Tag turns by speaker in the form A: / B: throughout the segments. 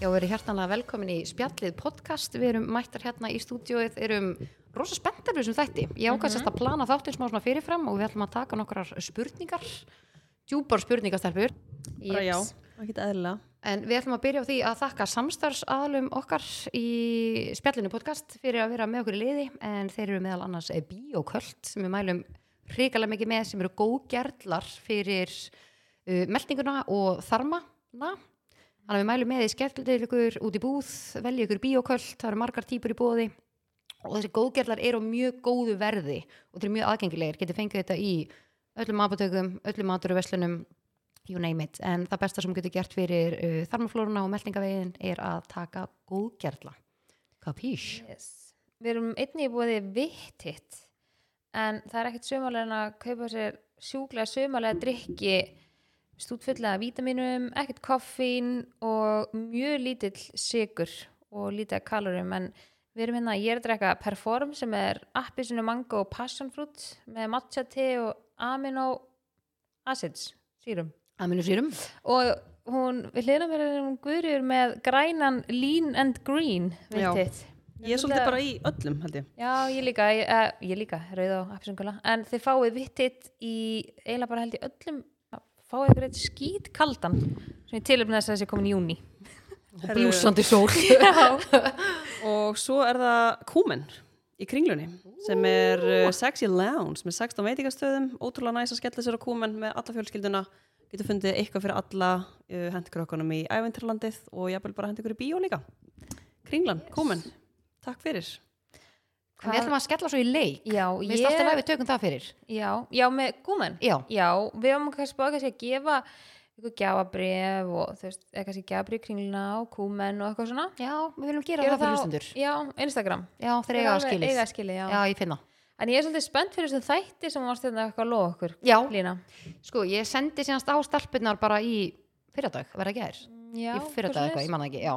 A: Já, við erum hjartanlega velkomin í Spjallið podcast, við erum mættar hérna í stúdíóið, erum rosa spenntar við þessum þætti. Ég ákvæmst
B: Mhm.
A: mm að plana þáttinn smá svona fyrirfram og við ætlum að taka nokkrar spurningar, djúpar spurningastelpur.
B: Bara já, það geta eðla
A: En við ætlum að byrja á því að þakka samstarfsaðalum okkar í Spjallinu podcast fyrir að vera með okkur í liði en þeir eru meðal annars bioköld sem við mælum hrikalega mikið með sem eru góðgerðlar fyrir uh, meldinguna og þarmana þannig að við mælum með því skellið ykkur út í búð velji ykkur bioköld, það eru margar típur í búði og þessi góðgerðlar eru á mjög góðu verði og þeir eru mjög aðgengilegir getið fengið þetta í öllum apatökum, öllum maturverslunum you name it, en það besta sem getur gert fyrir uh, þarmaflóruna og meldingavegin er að taka góðgerla kapísh
C: Yes. Við erum einnig í búið vittitt en það er ekkert sömulega en að kaupa sér sjúklega sömulega drikki stútfullega vítaminum, ekkert koffín og mjög lítill sigur og lítið af kalorum en við erum hérna, ég er að drekka Perform sem er appisinu mango og passion fruit með matcha te og amino acids, sírum
A: aminu sírum,
C: og hún, við hliðna mér er hún guðriður með grænan lean and green
B: Já.
C: vittitt
B: Ég er svolítið bara í öllum held ég
C: Já, ég líka, ég, eh, ég líka, rauð og appisungula en þið fáið vittitt í eiginlega bara held í öllum fáið ykkur eitt skýt kaldan sem ég tilöfna þess að þessi er komin í júni
A: og blúsandi sól
B: Og svo er það Kúmen í kringlunni sem er uh, Sexy Lounge með 16 veitingastöðum ótrúlega næs að skella sér á Kúmen með alla fjölskylduna getur fundið eitthvað fyrir alla uh, hendikrökkunum í æventurlandið og jafnvel bara hendikur í bíó líka Kringlan, Kúmen, takk fyrir
A: En við ætlum að skella svo í leik
C: Já,
A: Mér finnst alltaf að
C: ég,
A: við tökum það fyrir
C: já, já, með gúmen
A: Já.
C: við höfum kannski búið kannski að gefa ykkur gjafabrif og þú veist, eða kannski gjafabrif kringluna og gúmen og eitthvað svona
A: Já, við viljum gera
C: Gera
A: það fyrir hlustendur
C: Já, Instagram
A: Já, þeir eiga að
C: alveg- eiga
A: skilis
C: að skilið, já.
A: Já, ég finna
C: En ég er svolítið spennt fyrir þessum þætti sem varst þetta eitthvað að lofa okkur
A: Já,
C: Lína
A: sko, ég sendi síðanst á stelpunar bara í fyrradag, verða gær
C: Já,
A: Ég fyrir
C: eitthvað
A: þetta eitthvað,
C: svoleiðis.
A: ég manna ekki, já.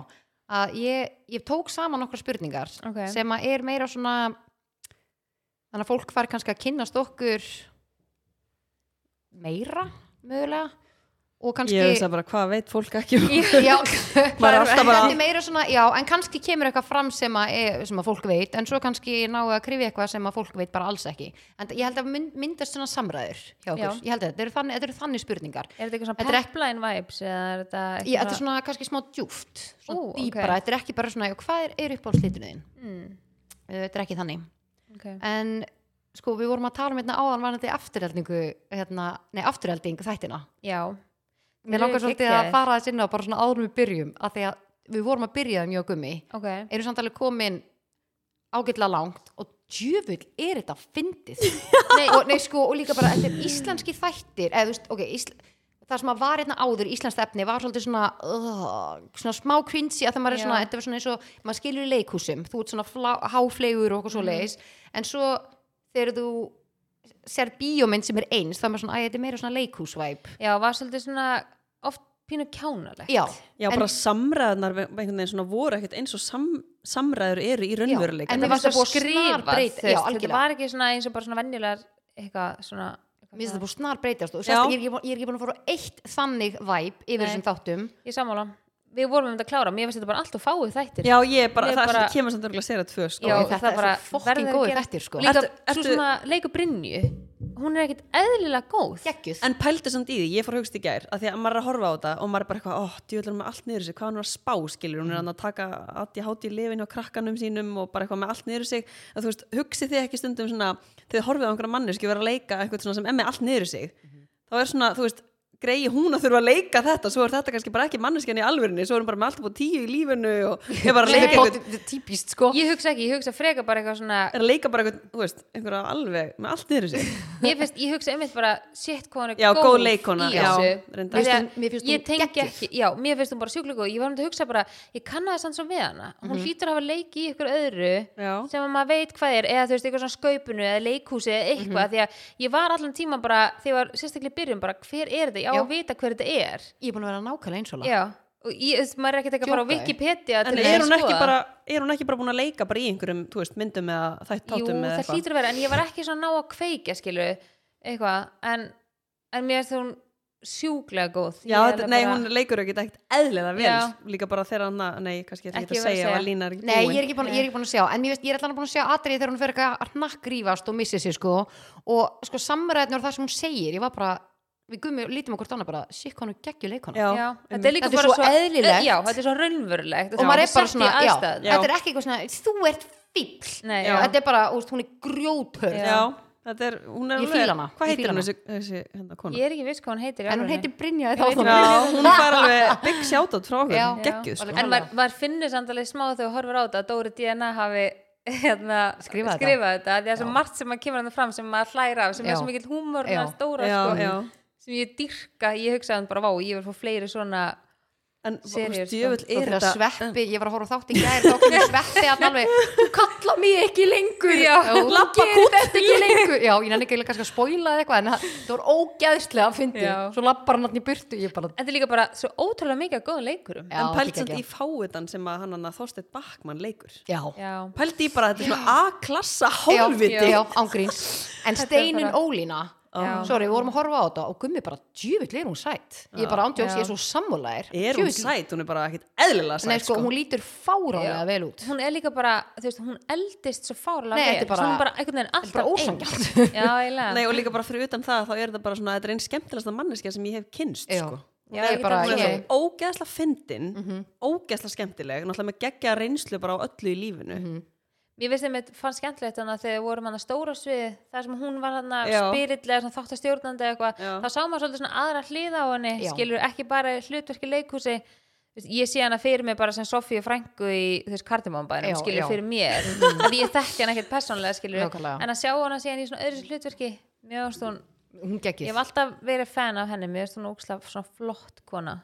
A: Að ég, ég tók saman nokkra spurningar
C: Ok.
A: sem að er meira svona, þannig að fólk fari kannski að kynnast okkur meira, mögulega, og kannski...
B: Ég veist að bara hvað veit fólk ekki um
A: Já,
B: Maður er alltaf bara-
A: Þetta er meira svona, já, en kannski kemur eitthvað fram sem að, er- sem að fólk veit, en svo kannski náu að krifi eitthvað sem að fólk veit bara alls ekki. En ég held að mynd, myndast svona samræður hjá okkur. Ég
C: Já.
A: held að þetta eru þannig, þetta eru þannig spurningar.
C: Er þetta eitthvað
A: Þetta er
C: svona
A: ekki-
C: pepline vibes eða er þetta eitthvað
A: Já, þetta er svona kannski smá djúft svona
C: Ú, ok.
A: dýpara, þetta er ekki bara svona já, hvað er, er upp á slítunum þinn,
C: mm,
A: Uh, þetta er ekki þannig
C: okay.
A: en sko við vorum að tala um hérna áðan varandi afturheldingu hérna, nei afturhelding þættina
C: Já, Þeir
A: mér
C: eru
A: langar svolítið
C: geggjaðir.
A: að fara þess inn á bara svona áður en við byrjum að því að við vorum að byrja um mjög gummi
C: ok
A: eru samt alveg komin ágætlega langt og djöfull er þetta fyndið nei, og, nei, sko, og líka bara þetta er íslenski þættir eða, þú veist, okay, ísl... það sem að var hérna áður íslenskt efni var svolítið svona, uh, svona smá cringy að það maður er
C: Já.
A: svona, þetta var svona eins og maður skilur í leikhúsum, þú ert svona flá, háflegur og okkur svo leiðis en svo þegar þú sér bíómynd sem er eins þá er maður svona, æ, þetta er meira svona leikhúsvæp
C: Já, var svolítið svona oft pínu kjánalegt
A: já,
B: Já, bara samræðnar einhvern veginn svona voru ekkert eins og sam, samræður eru í raunveruleika
A: en
C: En
A: mér
C: það var
A: fannst
C: svo
A: það
C: búið að
A: búið að
C: skrifa
A: snarbreyta- já, algjörlega.
C: Þetta var ekki svona eins og bara svona venjulegar eitthvað svona eitthvað
A: mér finnst
C: svona-
A: þetta búið snar breytast og
B: Já.
A: sérst, ég, er ekki búin- ég er ekki búin að fóra eitt þannig væp yfir
C: Nei.
A: þessum þáttum
C: Ég sammála Við vorum um þetta að klára, mér finnst þetta bara alltaf fáið þættir
B: Já, ég bara,
C: Ég
B: það
C: bara-
B: kemur samt örgulega að segja tvö sko.
C: Já,
A: Nei, þetta
C: það
A: er
C: bara
A: svo fucking
C: verður að
A: góðir
C: gera-
A: þættir, sko.
C: Líka,
B: Ertu-
C: svo
B: ertu-
C: sem að leikur Brynju Hún er ekkit eðlilega góð
A: geggjuð
B: En pældu samt í því, ég fór hugst í gær að því að maður er að horfa á þetta og maður er bara eitthvað, ó, oh, djúðlar með allt niður sig, hvað hann var að spá, skilur, hún er að taka að ég háti í lefinu og krakkanum sínum og bara eitthvað með allt niður sig, að þú veist, hugsið þið ekki stundum svona, þegar þið horfið á einhverja manneski vera að leika eitthvað svona sem er með allt niður sig, þá er svona, þú veist, greiði hún að þurfa að leika þetta, svo er þetta kannski bara ekki manneskjan í alvörinni, svo er hún bara með allt upp á tíu í lífinu og er bara að leika eitthvað,
A: Þetta er típist sko
C: Ég hugsa ekki, ég hugsa freka bara eitthvað svona
B: er að leika bara eitthvað, þú veist, einhverja alveg með allt niður sig.
C: Mér finnst, ég hugsa einmitt bara shit hvað hún er
B: Já,
C: góð,
B: góð leikkona,
C: í
B: já,
C: þessu
B: reyndar.
C: Af því
A: Mér finnst hún-
C: að
A: mér finnst
C: ég
A: hún
C: tengi
A: geggjuð.
C: ekki, já, mér finnst hún bara sjúklega góð ég var um að hugsa bara, ég kannaði sann svo við hana hún
A: Mhm.
C: hlýtur að hafa leiki í ykkur öðru
B: Já.
C: sem að maður veit hvað er, eða þú veist, eitthvað svona skaupinu eða leikhúsi eða eitthvað,
B: Mhm.
C: því að ég var allan tíma bara, þegar sérstaklega í byrjun bara, hver er þetta, ég á
A: Já.
C: að vita hver þetta er
A: Ég er búin að vera nákvæmlega eins og lag
C: já, og ég, þú veist, maður er ekkert eitthvað að fara á
A: Djókaði.
C: Wikipedia
B: En
C: til
B: er
C: að
B: hún, ekki
A: sko
C: skoða.
B: bara, er hún ekki bara búin að leika bara í einhverjum þú veist, myndum eða þætt
C: Jú,
B: tátum eða
C: það
B: eitthvað?
C: hlýtur að vera, en ég var ekki svona að ná að kveika, skilu, eitthvað, en, en mér finnst hún sjúklega góð
B: Já,
C: Ég er
B: þetta,
C: alveg
B: nei,
C: bara-
B: hún leikur ekki ekkert eðlilega vel
C: Já.
B: Líka bara þegar hann, að- nei, kannski ég ætla
C: Ekki
B: ekki að
C: verið að
B: segja
C: segja.
B: að Lína er ekki
A: Nei,
B: búin
A: ég er ekki búin, ég er ekki búin að sjá en ég, veist, ég er allan búin að sjá atriði þegar hún fyrir eitthvað að hnakkrýfast og missi sig sko og sko samræðnur það sem hún segir ég var bara, við gummi lítum okkur annað bara, sík hann og geggjur leikona
B: Já,
C: Já,
B: einmitt.
C: þetta er líka
A: Þetta er
C: bara
A: svo eðlilegt.
C: Já, þetta er svo raunverulegt
A: og maður er bara svona, já,
B: Já.
A: þetta er ekki eitthvað svona þú ert fíll,
C: Nei,
B: Já.
A: þetta er bara úst, hún er grjóthörð
C: Já.
B: Já, þetta er, hún er
A: Ég fíla hana,
B: Hvað
A: ég fíla
B: heitir hún
A: hana.
B: þessi, þessi hérna kona?
C: Ég er ekki viss hvað hún heitir í
A: en hún
C: alvörunni.
A: heitir Brynja í
C: Ég veit
A: þáttunum.
B: Já, hún fær alveg bygg sjátt frá okkur,
A: Já.
B: geggjuð
A: Já.
B: sko.
C: En maður, maður finnir samt alveg smá þegar þú horfir á þetta að Dóri DNA hafi hérna,
A: Skrifað þetta.
C: þetta því að svo margt sem maður kemur hann fram sem maður hlæra af sem
A: Já.
C: er svo mikill húmor
A: Já.
C: hans Dóra
B: Já,
C: sko,
B: já.
C: sem ég dyrka, ég hugsaði hann bara vá, ég vil fá fleiri svona
B: En
C: Seriur, sko.
B: stjöfull
A: og
B: er
A: þegar
B: þetta
A: sveppi, ég var að horfa á þátt í gæri þá kom sveppi að alveg þú kalla mig ekki lengur
C: Já.
A: þú
C: Labba
A: gerir þetta ekki lengur já, ég nenni ekki kannski að spoila eða eitthvað en það það var ógæðslega að fyndi
C: Já.
A: svo lappar hann hann í burtu ég bara,
C: en þetta er líka bara svo ótrúlega mikið að góðum leikurum
A: Já,
B: En
A: þetta
B: pælt
A: er
B: samt
A: geggjað.
B: í fáutan sem að hann hann að Þorsteinn Backmann leikur
A: já,
C: Já.
B: Pælt í bara að þetta er svona A-klassa
A: já,
B: hálfviti
A: já, ángríns en
C: Þetta er
A: Steinin
C: bara-
A: Ólína
C: Já.
A: sorry, við vorum að horfa á þetta og gummi bara, djöfull er hún sætt ég bara ándjóks, ég er svo sammúlæðir
B: Er hún sæt, hún er bara ekkert eðlilega
A: Nei,
B: sæt
A: sko, hún lítur fárálega
C: Já.
A: vel út
C: hún er líka bara, þú veist, hún eldist svo fárlega
A: Nei, þetta er bara-
C: hún er bara einhvern veginn alltaf
A: bara
C: eins.
A: ósanngjarnt.
C: Já, eiginlega.
B: Nei, og líka bara fyrir utan það, þá er þetta bara svona, þetta er einn skemmtilegasta manneskja sem ég hef kynst,
A: Já.
B: sko.
A: Já,
B: Hún
A: ég bara-
B: hún er
A: ég- Mhm.
B: svo ógeðslega fyndin, ógeðslega skemmtileg, náttúrulega með geggja reynslu bara á öllu í lífinu.
A: Mhm.
C: Ég veist þeim að fann skemmtilegt þannig að þegar við vorum hann að stóra svið þar sem hún var hann að
B: Já.
C: spiritlega þáttastjórnandi eitthvað,
B: Já.
C: þá sá maður svolítið svona aðra hliða á henni,
A: Já.
C: skilur ekki bara í hlutverki leikhúsi Þú veist, ég sé hana fyrir mig bara sem Sofíu Frænku í þú veist
A: Já,
C: kardimámbænum, skilur
A: já.
C: fyrir mér að ég þekki hann ekkert persónlega skilur
A: Nákvæmlega.
C: en að sjá hana síðan í svona öðru hlutverki mjög veist hún,
A: hún
C: ég
A: geggir
C: hef alltaf verið fan af henni mjög veist hún óksla svona flott kona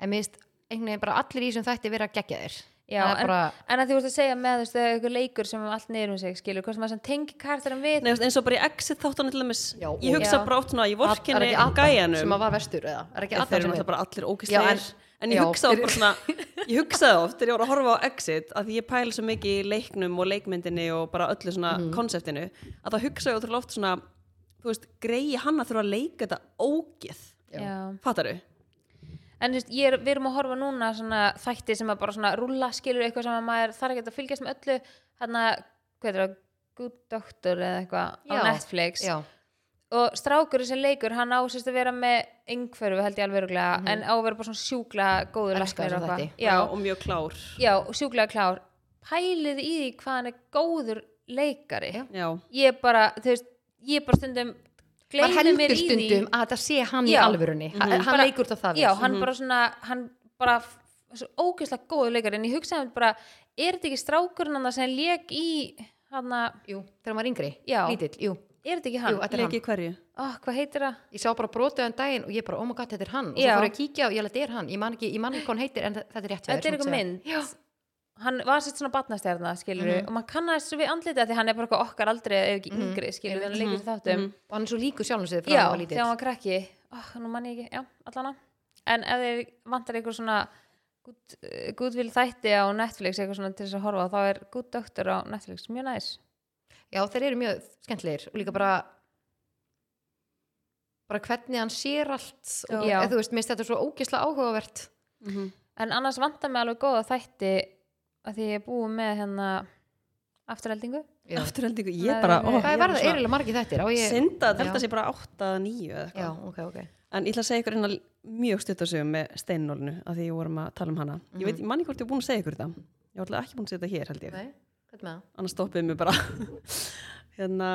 A: en mér finnst einhvern veginn bara allir í þessum þætti vera geggjaðir
C: Já,
A: Það er
C: en,
A: bara-
C: en að því vorst að segja með þú veist, þegar ykkur leikur sem er allt niður um sig skilur, hvort sem maður sem tengi karakterum við
B: Nei, þú veist, eins og bara í Exit þáttan allir mis,
A: Já,
B: ég
A: og-
B: hugsa
C: Já.
B: bara oft svona, ég
A: Ad- er
B: vorkinni
A: ekki Adam sem að
B: gæjanum,
A: var vestur eða er ekki
B: En þeir
A: Adam
B: eru
A: sem
B: náttúrulega
A: er
B: bara allir
A: Já,
B: ógeðslegir.
A: en-
B: En ég
A: já,
B: hugsa oft
A: þeir-
B: bara svona, ég hugsaði oft þegar ég voru að horfa á Exit að því ég pæli svo mikið í leiknum og leikmyndinni og bara öllu svona
A: Mhm.
B: konseptinu að það hugsaði ótrúlega oft svona, þú veist, greiði hann að þurfa að leika þetta ógeð.
C: Já.
B: Fattaru?
C: En þú veist, ég er, við erum að horfa núna svona þætti sem að bara svona rúlla skilur eitthvað sem að maður þarf ekki að fylgjast með öllu hann að, hvað er það, Good Doctor eða eitthvað á
A: Já,
C: Netflix
A: já,
C: og strákurinn sem leikur hann á sérst að vera með yngferfu held ég alveg öruglega en á að vera bara svona sjúkla góður
A: Elska
C: læknir og
A: þessa
C: eitthvað.
A: Mhm. þætti.
C: Já,
B: og mjög klár
C: já, sjúklega klár Pælið í því hvað hann er góður leikari
A: Já.
B: já,
C: Ég bara, þú veist, ég bara stundum
A: maður
C: gleymi
A: heldur
C: mér í því
A: stundum að þetta sé hann
C: Já. Mhm.
A: í alvörunni mm hann
C: Bara-
A: leikur þetta það vel. Mhm.
C: já, hann bara svona hann bara f- svo ógeðslega góður leikari en ég hugsaði einmitt bara, er þetta ekki strákurinn hann sem leik í hann
A: jú, þegar maður er yngri,
C: Já.
A: lítill jú,
C: er þetta ekki hann?
A: jú, þetta er hann
B: leiki hverju
C: oh, hvað heitir það?
A: ég sá bara brotið um daginn og ég bara, oh my god, þetta er hann og
C: Já.
A: svo fór ég að kíkja og ég alveg, þetta er hann ég man ekki, ég man ekki hvað hann heitir en þa- þetta er rétt hjá
C: Þetta
A: þér,
C: er
A: svona
C: eitthvað
A: segja.
C: mynd. hann var sett svona batnastjarna skilur
A: Mhm.
C: og maður kannast svo við andlitið af því hann er bara eitthvað okkar aldrei ef ekki yngri skilur þannig leikir í þáttum
A: og hann er svo líku sjálfum sér frá
C: já,
A: hann var
C: þegar hann
A: lítill
C: var krakki oh, nú mann ég ekki, já, allana en ef þeir vantar einhver svona gúdvil þætti á Netflix eitthvað svona til þess að horfa á, þá er Good Doctor á Netflix, mjög næs
A: já, þeir eru mjög skemmtilegir og líka bara bara hvernig hann sér allt og
C: Já.
A: eða þú veist, minnst þetta er svo ógisla áhugavert
C: En annars vantar mig alveg góða þætti að því ég er búið með hérna afturheldingu.
A: Já.
B: afturhendingu, ég
C: Nei,
B: bara
C: nei,
B: ó,
C: nei.
A: hvað
B: ég
A: er verða,
B: svona-
A: erilega margir þettir á ég
B: synda, þetta
A: Já.
B: sé bara 8-9 eða
A: já,
B: eitthvað
A: ok, ok
B: en ég ætla að segja ykkur hérna mjög stutt að segja með steinnólinu að því ég vorum að tala um hana ég veit, ég manni hvort ég er búin að segja ykkur þetta ég var alltaf ekki búin að segja þetta hér held ég
A: Nei, hvernig með það?
B: annars stoppiði mig bara hérna,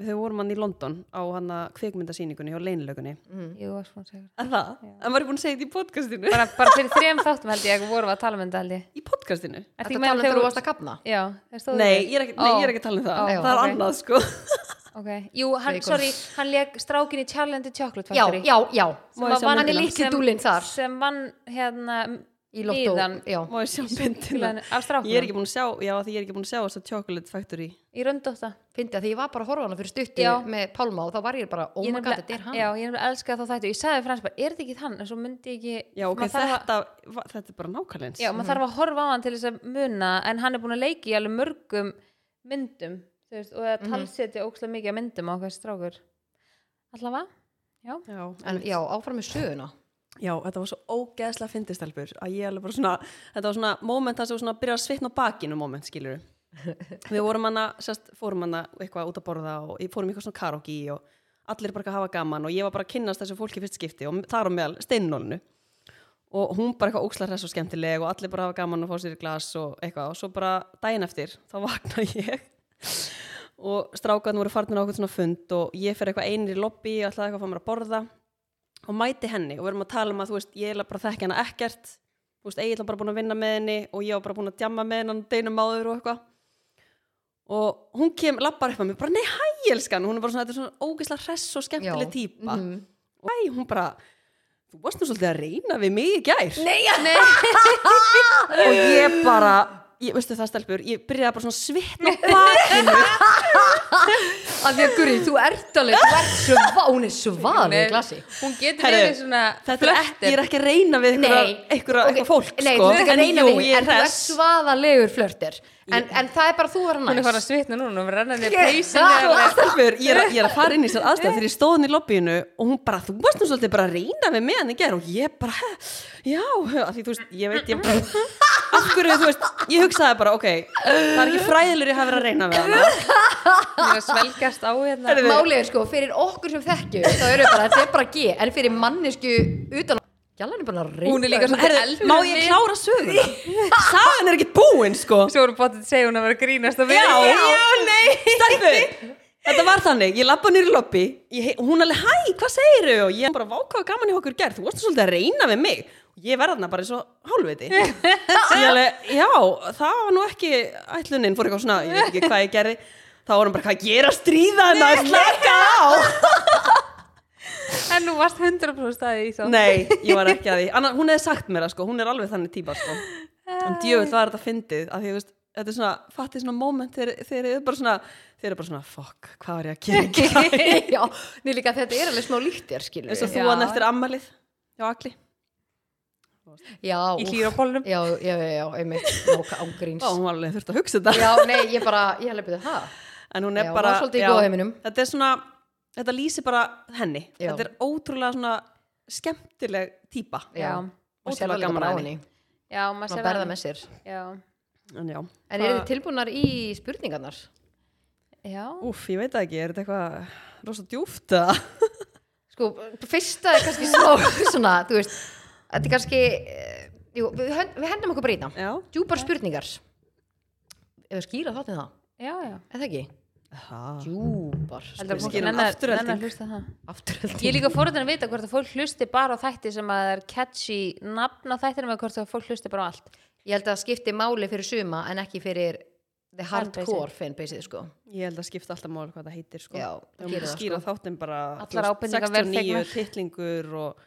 B: þau vorum hann í London á hann að kveikmyndasýningunni hjá leinilögunni
A: Mhm.
C: Jú, varst búin að segja.
B: en það, en maður er búin að segja þetta í podcastinu
C: Bara, bara fyrir þrem þáttum held ég, vorum við að tala um þetta held ég.
B: í podcastinu
C: Ertu
A: Þetta tala
C: ekki
A: um þegar
C: þegar
A: þú varst að kapna?
C: Já, það stóðu
B: nei, ég er ekki, nei, ég er ekki að tala um það
C: Ó,
B: það er
C: ok.
B: annað sko
C: Ok, jú, hann,
A: Bacon.
C: sorry, hann leg strákin í Challenge Chocolate
A: Já,
C: Factory.
A: já, já.
C: Sem
B: Má ég
C: að
B: sjá
C: vann-
A: myndina? Sem-
C: Sem vann hérna
A: Í loftó,
C: miðan
A: já.
B: Má ég sjá myndina?
C: súkkulaðinu- af strákunum.
B: Ég er ekki búin að sjá, já því ég er ekki búin að sjá þess að Chocolate Factory
C: í röndóta.
A: Fyndi að því ég var bara að horfa á hana fyrir stutti
C: Já.
A: með Pálma og þá var ég bara, oh my god, þetta er hann.
C: Já, ég er nefnilega elska þá þættu. Ég sagði frans bara, er þetta ekki hann? En svo myndi ég ekki...
B: Já ok,
C: maður þarf að-
B: þetta, va, þetta er bara nákvæmleins
C: Já, maður þarf að horfa á hann til þess að muna en hann er búin að leiki í alveg
A: Mhm.
C: mörgum myndum þú veist, og að talsetja ókslega mikið af myndum á hvers strákur allavega, já,
B: Já,
A: en já, áfram með söguna
B: Já, þetta var svo ógeðslega fyndistelpur að ég alveg bara svona, þetta var svona moment þar sem svona byrjar að svitna á bakinu moment, skilur við vorum hana, sérst, fórum hana eitthvað út að borða og ég fórum í eitthvað svona karaoke og allir bara eitthvað að hafa gaman og ég var bara að kynnast þessu fólki í fyrst skipti og þar á meðal steinnólinu og hún bara eitthvað óksla hress og skemmtileg og allir bara hafa gaman að fá sér í glas og eitthvað og svo bara daginn eftir þá vakna ég og strákan voru farnir á okkur svona fund og ég fer eitthvað einir í lobby og alltaf eitthvað að fá mér að borða og mæti henni og við erum að tala um að þú veist ég er bara að þekka hana ekkert þú veist, Egil var bara búin að vinna með henni og ég var bara búin að djamma með henni deinum áður og eitthvað og hún kem, lappar upp að mér bara nei hæ elskan, hún er bara svona, þetta er svona ógeðslega hress og skemmtileg
A: Já.
B: típa og hæ, hún bara þú varst nú svolítið að reyna við mig í gær
C: Nei, nei.
B: og ég bara ég, veistu það stelpur, ég byrjaði bara svona að svitna á bakinu
A: af því að Guri, þú ert alveg þú ert svá, hún er svaðið í glasi
C: hún getur
B: Herru,
C: verið svona
B: þetta er ekki, ég er ekki að reyna við einhverja, einhverja
A: ok,
B: okay. fólk
A: nei,
B: sko.
A: þú ert ekki að
B: En
A: reyna
B: jú,
A: við,
B: ég er
A: en þú ert
B: hress.
A: svaðalegur flörtir en, en það er bara þú vera
C: hún er
A: næs
C: fara að svitna núna, hún verður annan í
A: Ég-
B: Sko,
C: peysinu
B: stelpur, ég er, að- ég er að fara inn í þessar aðstæða þegar ég stóð hann í lobbyinu og hún bara, þú varst nú svolítið bara að reyna við með hann í gerð og ég bara, "Hæ? já, af því þú veist, ég veit, ég af hverju, þú veist, ég hugsaði bara, ok, það er ekki fræðilur ég hafi verið að reyna við hann
C: hún er að svelgjast á hérna
B: Herru,
A: málið er sko, fyrir okkur sem þekkjum þá eru bara, þetta er bara G, en fyrir mannesku utan, gælan er bara að reyna
C: Hún er líka svona-
B: Herðu, má ég klára söguna? Sagan er ekki búin, sko
C: svo voru bóttið að segja hún að vera að grínast að
B: Já,
C: vera
B: nei Stelpur, þetta var þannig, ég labba nýri lobby ég, hei- Hún alveg, hæ, hvað segiru? Og ég bara vákaði gaman í okkur gerð Þú varst svolítið að reyna við mig Og ég verða þarna bara eins og hálfviti Ég alveg, já, það var nú ekki Ætlunin fór eitthvað svona, ég veit ekki hvað ég gerði Þá vorum bara, hvað gera stríða hennar Slaka á
C: en nú varst 100% að því þá
B: Nei, ég var ekki að því Anna, Hún hefði sagt mér það sko, hún er alveg þannig típa sko En djöfull var þetta fyndið af því, þú veist, Þetta er svona, fattið svona moment þegar þegar þið eru bara svona, þeir eru bara svona fuck, hvað var ég að gera ekki
A: já, nei líka þetta er alveg smá líktir skilur
B: eins og
A: við,
B: þú
C: Já.
B: hann eftir ammalið já, allir
A: já,
C: í
A: úff.
C: hlýra pólunum
A: já, já, já, já, einmitt náka ángríns,
B: Ó, hún var alveg þurft að hugsa þetta
A: já, nei, ég bara ég hefði byrðið það,
B: en hún
A: Já,
B: er
A: hún
B: bara
A: var svolítið í
B: já,
A: góðheiminum.
B: þetta er svona, þetta lýsir bara henni
A: Já.
B: þetta er ótrúlega svona skemmtileg típa
A: já og sér
B: ótrúlega
A: alveg
B: gaman
A: bara á
B: að henni
A: henni,
C: já, maður
A: maður
C: sér
A: berða
C: hann.
A: með sér
C: já,
B: en já,
A: en eru þið tilbúnar í spurningarnar?
C: já
B: úf, ég veit það ekki, er þetta eitthvað rosa djúft eða?
A: sko, fyrsta er kannski smá svona, þú veist þetta er kannski, eh, jú, við, hönd, við hendum okkur bara í það
B: já,
A: djúpar spurningar ef við skýra þáttið það,
C: já, já
A: eða ekki
B: það
A: djúpar
C: Heldur að fólk
B: Skýrum
C: nenni-
B: afturölding.
C: nenni að hlusta á það.
A: afturölding
C: Ég er líka fórhundan að vita hvort að fólk hlusti bara á þætti sem að það er catchy nafn á þættinum eða hvort að fólk hlusti bara á allt
A: ég held að það skipti máli fyrir suma en ekki fyrir the
C: Fanbase-ið.
A: hardcore fanbase sko.
B: Ég held að skipta alltaf mál hvað það heitir sko.
A: Já, það
B: það
A: gerir það,
B: skýra þáttinn bara
C: Allar
B: þú veist, 69
C: ábendingar velþegnar.
B: titlingur og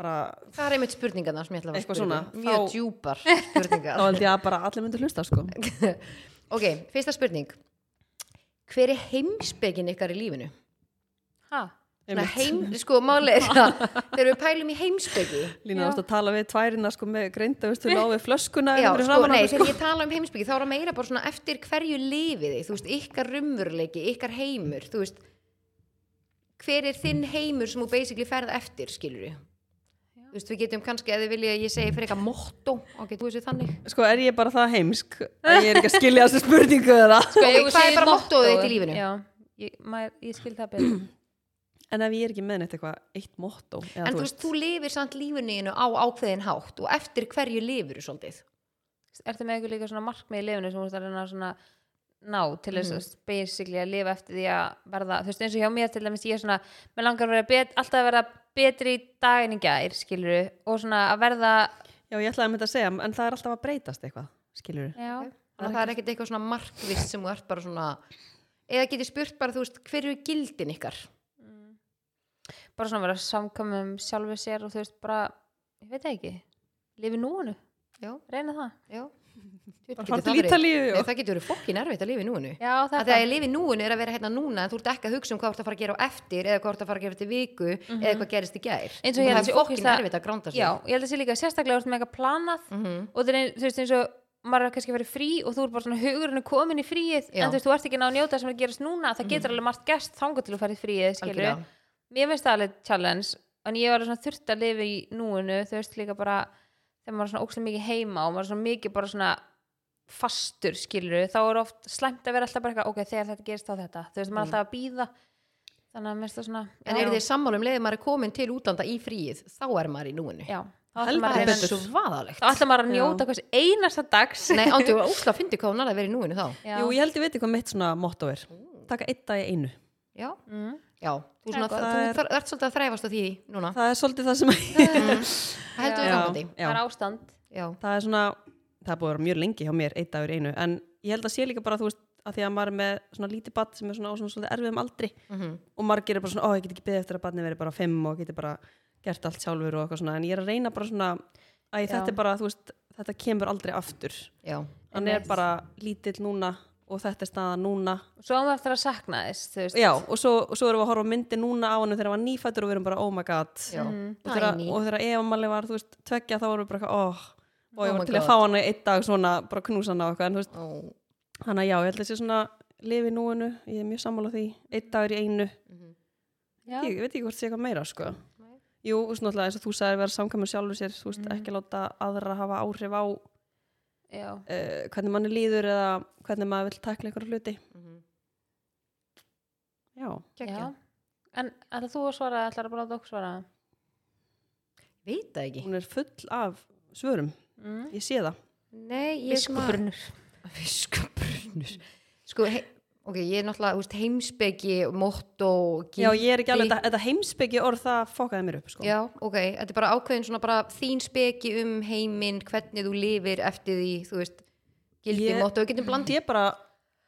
B: bara
A: það er einmitt spurningarna sem ég ætla að fara að
B: Eitthvað
A: spyrja
B: svona,
A: um. mjög
B: þá-
A: djúpar
B: þá
A: spurningar
B: held ég að bara allir myndir hlusta sko.
A: ok, fyrsta spurning hver er heimspekin ykkar í lífinu?
C: ha?
A: Svona
B: Einmitt.
A: heim, sko, máli er það þegar við pælum í heimspeki
B: Lína
C: Já.
B: ást að tala við tværina sko, með greinda, veistu, ná við flöskuna
A: Já,
B: fyrir
A: sko,
B: framan
A: nei,
B: okkur,
A: þegar ég tala um heimspeki þá er það meira bara svona eftir hverju lifið þið, þú veist, ykkar rumvurleiki, ykkar heimur, þú veist hver er þinn heimur sem þú basically ferð eftir, skilur við þú veist, við getum kannski, ef þið vilja að ég segi fyrir eitthvað motto, ok, þú veist við þannig
B: sko. sko er ég bara það heimsk að ég er ekki að skilja þessu spurningu eða
C: Sko,
A: Ok,
C: ef þú
A: hvað er
C: segir
A: bara mottóið
C: mottóið-
A: þitt í lífinu?
C: Já, ég, maður, ég skil það betur
B: en ef ég er ekki með neitt eitthvað, eitt motto eða,
A: en þú veist, þú lifir samt lífunniðinu á ákveðin hátt og eftir hverju lifir þú svolítið
C: Ertu með eitthvað líka svona markmið í lifinu sem þú veist að reyna að svona ná til þess að basically að lifa eftir því að verða, þú veist eins og hjá mér til dæmis ég er svona, mér langar að vera bet, alltaf að vera betri í dag en í gær skilur og svona að verða
B: já, ég ætlaði að mynda að segja, en það er alltaf að breytast eitthvað, skilur
C: já,
A: þannig að það er ekkert eitthvað svona markvist sem þú ert bara svona eða getur spurt bara, þú veist, hverju er gildin ykkar
C: bara svona að vera samkvæmum sjálfu sér og þú veist bara, ég veit það ekki lifi núinu,
A: Já.
C: reyna það
A: Já.
B: Bara fara til Ítalíu
A: Nei,
B: og-
A: það getur verið fokkin erfitt að lifa í núinu
C: já,
A: Af því
C: það
A: að það að lifa í núinu er að vera hérna núna en þú ert ekki að hugsa um hvað þú ert að fara að gera á eftir eða hvað þú ert að fara að gera eftir viku eða hvað gerist í gær
C: Mhm. Eins og ég held
A: það
C: að sé
A: er fokkin
C: ógeðslega-
A: erfitt að gránda sig
C: já, ég held að sé líka sérstaklega að þú ert með eitthvað planað
A: Mhm.
C: og það er, þú veist, eins og maður er kannski að fara í frí og þú er bara svona hugurinn er komin í fríið
A: Já. Mm.
C: en þú veist, þú ert ekki að ná að njóta sem er að gerast núna það getur alveg margt gæst þangað til að fara í fríið skilur
A: Algjörlega.
C: mér finnst það alveg challenge en ég var alveg svona þurft að lifa í núinu þú veist líka bara þegar maður er svona ókslega mikið heima og maður er svona mikið bara svona fastur skilur þá er oft slæmt að vera alltaf bara eitthvað ok, þegar þetta gerist þá þetta þú veist, maður er alltaf að býða þannig að mér finnst það svona
A: Mm. En
C: já,
A: eru þið sammála um leiðið maður er komin til útlanda í fríið, þá er maður í núinu.
C: já, þá ætlar maður
A: Það
C: að
A: er
C: reyna-
A: svo vaðalegt.
C: þá ætlar maður að njóta hvers einasta dags
A: Nei, ándu, úsla, fyndi hvað hún alveg verið í núinu þá.
C: já,
B: Jú, ég held ég veit hvað mitt svona motto er Taka einn dag í einu
A: Já,
C: mm.
A: já. Þú, svona,
C: Það
A: þú
B: er gott.
A: þar- ert svolítið að þræfast á því núna.
B: Það er svolítið það sem
A: Það heldur við
C: Já.
A: þangandi.
C: það
B: Já.
C: er ástand
A: Já,
B: Það er svona, það er búið að vera mjög lengi hjá mér einn dagur í einu En ég held að sé líka bara, þú veist, að því að maður er með svona lítið badd sem er svona á svona svolítið erfiðum aldri
A: Mhm.
B: Og margir er bara svona, ó, ég get ekki beðið eftir að badni veri bara fimm og geti bara gert allt sjálfur og eitthvað svona En ég er að reyna bara svona, að
C: Já.
B: þetta er bara, þú veist, þetta kemur aldrei aftur
A: já.
B: hann er bara lítill núna og þetta er staðan núna
C: svo á maður eftir að sakna þess þú veist
B: já, og svo, og svo erum við að horfa á myndi núna á hann þegar hann var nýfættur og við erum bara oh my god
A: Já.
C: Mhm.
B: og þegar,
A: Tiny.
B: og þegar Eva Mali var þú veist, tveggja þá vorum við bara eitthvað, oh, og
A: Oh
B: ég
A: my
B: var til
A: God.
B: að fá hann í einn dag svona bara knúsa hann á eitthvað en þú veist,
A: Ó,
B: hann að já, ég held að sé svona lifi núinu, ég er mjög sammála því einn dagur í einu,
C: Já.
B: ég, ég veit ekki hvort sé eitthvað meira sko Jú, og svona alltaf eins og þú sagðir vera samkvæmur sjálfur sér, þú veist,
A: Mhm.
B: ekki láta aðra hafa áhrif á uh,
C: Já.
B: hvernig manni líður eða hvernig maður vill takla einhverja hluti.
A: Mhm.
B: Já.
A: gekkja.
C: Já. En ætlar þú að svara, ætlar að bara láta okkur svara?
A: Veit það ekki.
B: hún er full af svörum
C: Mm.
B: ég sé það
A: Nei, ég er svona... Fiskabrunnur. Sko, he... ok, ég er náttúrulega þú veist, heimspeki, motto,
B: já ég er ekki alveg þetta, þetta heimsbyggi orð það fokkaði mér upp sko.
A: Já, ok, þetta er bara ákveðin svona bara þín speki um heiminn, hvernig þú lifir eftir því, þú veist, gildi
B: Ég-
A: motto, við getum blandið.
B: ég bara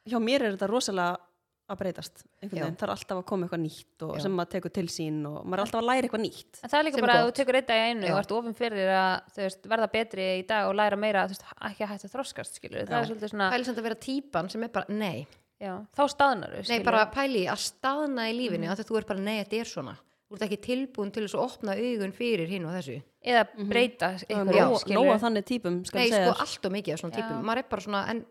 B: hjá mér er þetta rosalega að breytast einhvern
A: Já.
B: veginn, það er alltaf að koma eitthvað nýtt og
A: Já.
B: sem maður tekur til sín og maður er alltaf að læra eitthvað nýtt
C: En það er líka
A: Sem er
C: bara að þú
A: gott.
C: tekur einn dag í einu
A: Já.
C: og ert ofin fyrir að þú veist, verða betri í dag og læra meira þú veist, ekki að hætta að þroskast, skilur Það er svolítið svona,
A: Pæli samt að vera típan sem er bara, nei,
C: já, þá staðnar
A: nei bara pæli í að staðna í
B: Mhm.
A: lífinu mm. að þú er bara, nei, þetta er svona. Þú ert ekki tilbúin til þess að opna augun fyrir hinn og þessu.
C: Eða breyta
B: Nóg-
C: einhverju,
B: nóg
C: skilur
B: af þannig típum skal
A: Nei,
B: ég segja
A: sko,
B: þér.
A: allt og mikið af svona
C: Já.
A: típum. Maður er bara svona, en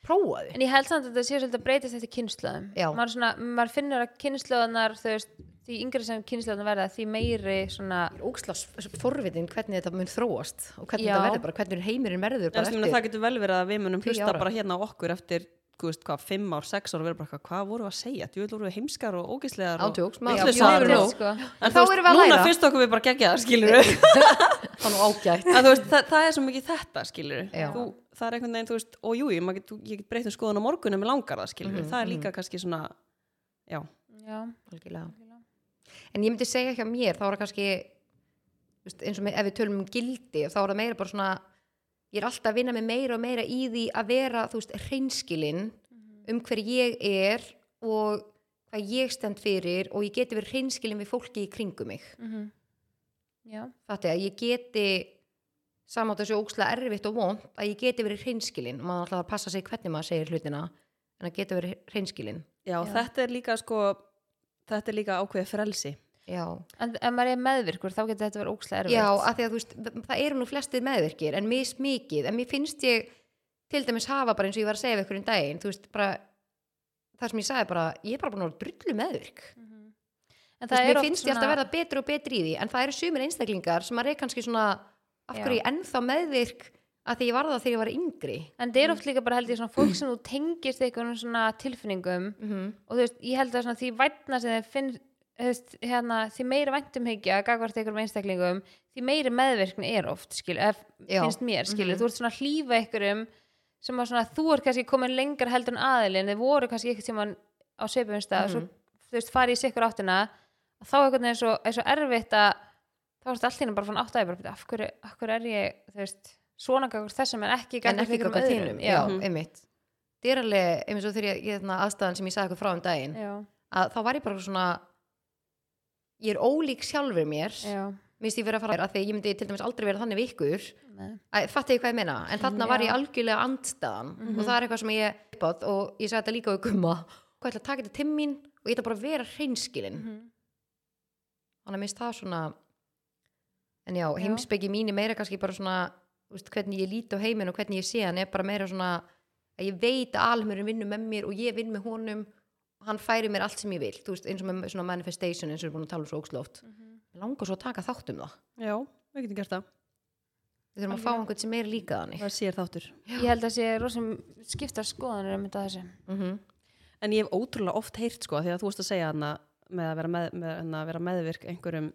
A: prófaði.
C: En ég held samt að þetta sé svolítið að breytast eftir kynnslöðum
A: Já.
C: maður, er svona, maður finnur að kynnslöðunar þú veist, því yngri sem kynnslöðunar verða því meiri svona
A: Óksla forvitin hvernig þetta mun þróast og hvernig
C: Já.
A: þetta verður bara, hvernig heimurinn verður
B: En
A: bara
B: sem meina, það getur vel verið að við munum
A: Tíu
B: hlusta
A: ára.
B: bara hérna á okkur eftir þú veist, hvað, fimm ár, sex ár og vera bara eitthvað, hvað voru að segja, djú voru við heimskar og ógislegar og
A: Ándjóks, maður-
B: vitlausar
A: Já,
B: og-
C: sko.
B: en
A: þá
B: þú veist,
A: erum við að
B: núna
A: læra.
B: fyrst okkur við bara gegja það skilur við
A: Það er nú ágætt.
B: en þú veist, það, það er svo mikið þetta, skilur
A: Já.
B: þú, það er einhvern veginn, þú veist, og jú, ég, maður get, ég get breytt um skoðun á morgun ef mér langar það, skilur það er líka kannski svona, já
C: Já,
A: Algjörlega. En ég myndi segja hjá mér, þá er það kannski þú veist, eins og með, ef við tölum um gildi þá er það meira bara svona ég er alltaf að vinna mig meira og meira í því að vera þú veist, hreinskilin um hver ég er og hvað ég stend fyrir og ég geti verið hreinskilin við fólki í kringum mig
C: já,
A: þetta er að ég geti samátt þessu ókslega erfitt og vond að ég geti verið hreinskilin og maður alltaf að passa sig hvernig maður segir hlutina en að geta verið hreinskilin
B: já, þetta er líka sko þetta er líka ákveðið frelsi
A: Já,
C: en ef maður er meðvirkur þá getur þetta verið ókslega erfitt
A: Já, að því að þú veist, það eru nú flestið meðvirkir en mis mikið, en mér finnst ég til dæmis hafa bara eins og ég var að segja við ykkur um daginn, þú veist, bara það sem ég sagði bara, ég er bara búin að vera drullu meðvirk það
C: En
A: þú
C: Mm. það
A: veist,
C: er
A: mér
C: oft
A: finnst ég
C: svona-
A: alltaf verða betri og betri í því en það eru sumir einstaklingar sem að reyð kannski svona af
C: Já.
A: hverju ég er ennþá meðvirk að því ég var það þegar ég var yngri
C: En það er oft líka bara held ég svona fólk sem þú tengist einhvern svona tilfinningum og þú veist, ég held að svona því vætna sem þið finn, þú veist, hérna, því meiri væntumhyggja gagvart einhverjum einstaklingum því meiri meðverkni er oft, skil, eða
A: Já.
C: finnst mér, skil, þú ert svona að hlífa einhverjum sem að svona, þú ert kannski komin lengar heldur en aðilin, þið voru kannski eitthvað tímann á sveipum stað, svo, þú veist, farið í sikkur áttina, þá einhvern veginn er svo, er svo erfitt að þá er þetta allt hérna bara fann átt að ég bara, "Bíddu, af hverju, af hverju er ég, þú veist, svona gagvart þessum en ekki
A: en
C: gagvart
A: ekki
C: einhverjum
A: eitthvað
C: öðrum,
A: þínum, já,
C: já,
A: einmitt það er alveg, einmitt svo þegar ég, ég þarna aðstæðan sem ég sagði ykkur frá um daginn
C: já,
A: að þá var ég bara svona ég er ólík sjálfur mér
C: já,
A: minnst ég verið að fara að því að ég myndi til dæmis aldrei vera þannig við ykkur
C: nei,
A: Æ, fattið ég hvað ég meina, en þarna var
C: Já.
A: ég algjörlega andstæðan og það er eitthvað sem ég uppátt og ég sagði þetta líka við gumma hvað ég ætla að taka þetta til mín og ég ætla bara að vera hreinskilin
C: Mhm.
A: þannig að minnst það svona en já, heimspeki mín er meira kannski bara svona þú veist, hvernig ég lít á heiminn og hvernig ég sé hann er bara meira svona að ég veit að almurinn vinnur með mér og ég vinn með honum hann færi mér allt sem ég vil þú veist, eins og með svona manifestation eins og við erum búin að tala um svo óksloft mm langar svo að taka þátt um það
B: já, við getum gert það
A: við þurfum að fá einhvern sem er líka þannig
B: það sér þáttur
C: ég held að sé rosum skipta skoðanir um þetta þessu
A: Mhm.
B: en ég hef ótrúlega oft heyrt sko því að þú veist að segja hana með að vera, með, með, hana, að vera meðvirk einhverjum